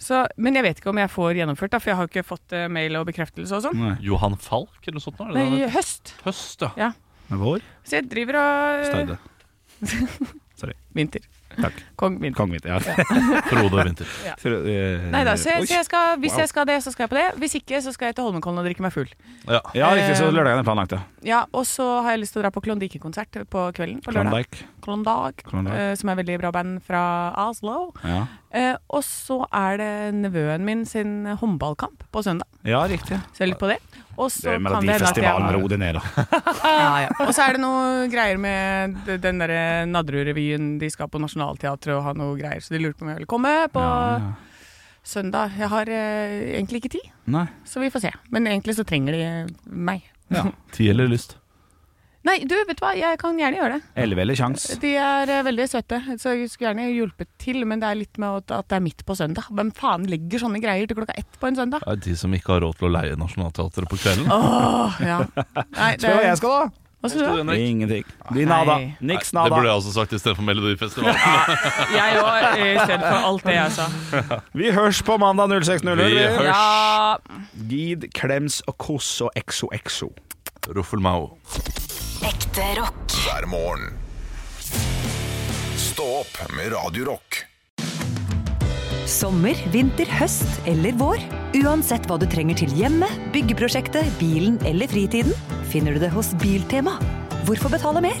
Speaker 3: Så, men jeg vet ikke om jeg får gjennomført, da, for jeg har jo ikke fått eh, mail og bekreftelse og sånn.
Speaker 4: Nei.
Speaker 2: Johan Falk, eller noe sånt? nå, Er det
Speaker 3: Nei,
Speaker 2: det han
Speaker 3: i høst.
Speaker 2: heter? Høst, ja.
Speaker 4: Men Vår?
Speaker 3: Så jeg driver og øh,
Speaker 4: Staude.
Speaker 3: Vinter.
Speaker 4: Takk.
Speaker 3: Kong Vinter.
Speaker 4: Kongen. Ja. eh,
Speaker 2: Frode Winther.
Speaker 3: Nei da, så,
Speaker 4: Oi.
Speaker 3: jeg, så jeg skal, hvis
Speaker 4: Wow.
Speaker 3: jeg skal det, så skal jeg på det. Hvis ikke, så skal jeg til Holmenkollen og drikke meg full.
Speaker 2: Ja.
Speaker 4: Ja, riktig. Så lørdagen er planlagt, ja.
Speaker 3: Ja, Og så har jeg lyst til å dra på Klondike-konsert på kvelden på lørdag.
Speaker 4: Klondyke.
Speaker 3: Klondag,
Speaker 4: Klondyke.
Speaker 3: eh, som er veldig bra band fra Oslo.
Speaker 4: Ja.
Speaker 3: Eh, og så er det nevøen min sin håndballkamp på søndag,
Speaker 4: ja, riktig.
Speaker 3: så jeg er litt på det. Og så
Speaker 4: Det er
Speaker 3: kan det hende at jeg
Speaker 4: Melodifestivalen, ro deg ned, da.
Speaker 3: ja, ja. Og så er det noe greier med d- den derre Nadderud-revyen. De skal på Nationaltheatret og ha noe greier, så de lurte på om jeg ville komme på
Speaker 4: Ja,
Speaker 3: søndag. Jeg har eh, egentlig ikke tid,
Speaker 4: Nei.
Speaker 3: så vi får se. Men egentlig så trenger de meg.
Speaker 2: Tid eller lyst?
Speaker 3: Nei, du, vet du hva, jeg kan gjerne gjøre det.
Speaker 4: Elleve eller kjangs.
Speaker 3: De er eh, veldig søte, så jeg skulle gjerne hjulpet til, men det er litt med at- at det er midt på søndag. Hvem faen legger sånne greier til klokka ett på en søndag?
Speaker 2: Det er de som ikke har råd til å leie Nationaltheatret på kvelden.
Speaker 3: Åh, ja. Nei, det,
Speaker 4: Spør hva jeg skal, da.
Speaker 3: hva skal du ha?
Speaker 2: Nei,
Speaker 4: Ingenting. De nada.
Speaker 3: Nei.
Speaker 4: Niks
Speaker 2: Det burde
Speaker 4: nada.
Speaker 2: jeg også sagt istedenfor Melodifestivalen.
Speaker 3: Jeg òg, i stedet for alt det jeg sa.
Speaker 4: Vi hørs på mandag 06.00.
Speaker 2: Vi
Speaker 4: vi.
Speaker 2: hørs.
Speaker 3: Ja.
Speaker 4: Gid, klems og koss og exo-exo.
Speaker 2: Ruffelmau.
Speaker 6: Ekte rock.
Speaker 1: hver morgen. Stå opp med Radio Rock.
Speaker 8: Sommer, vinter, høst eller vår. Uansett hva du trenger til hjemmet, byggeprosjektet, bilen eller fritiden, finner du det hos Biltema. Hvorfor betale mer?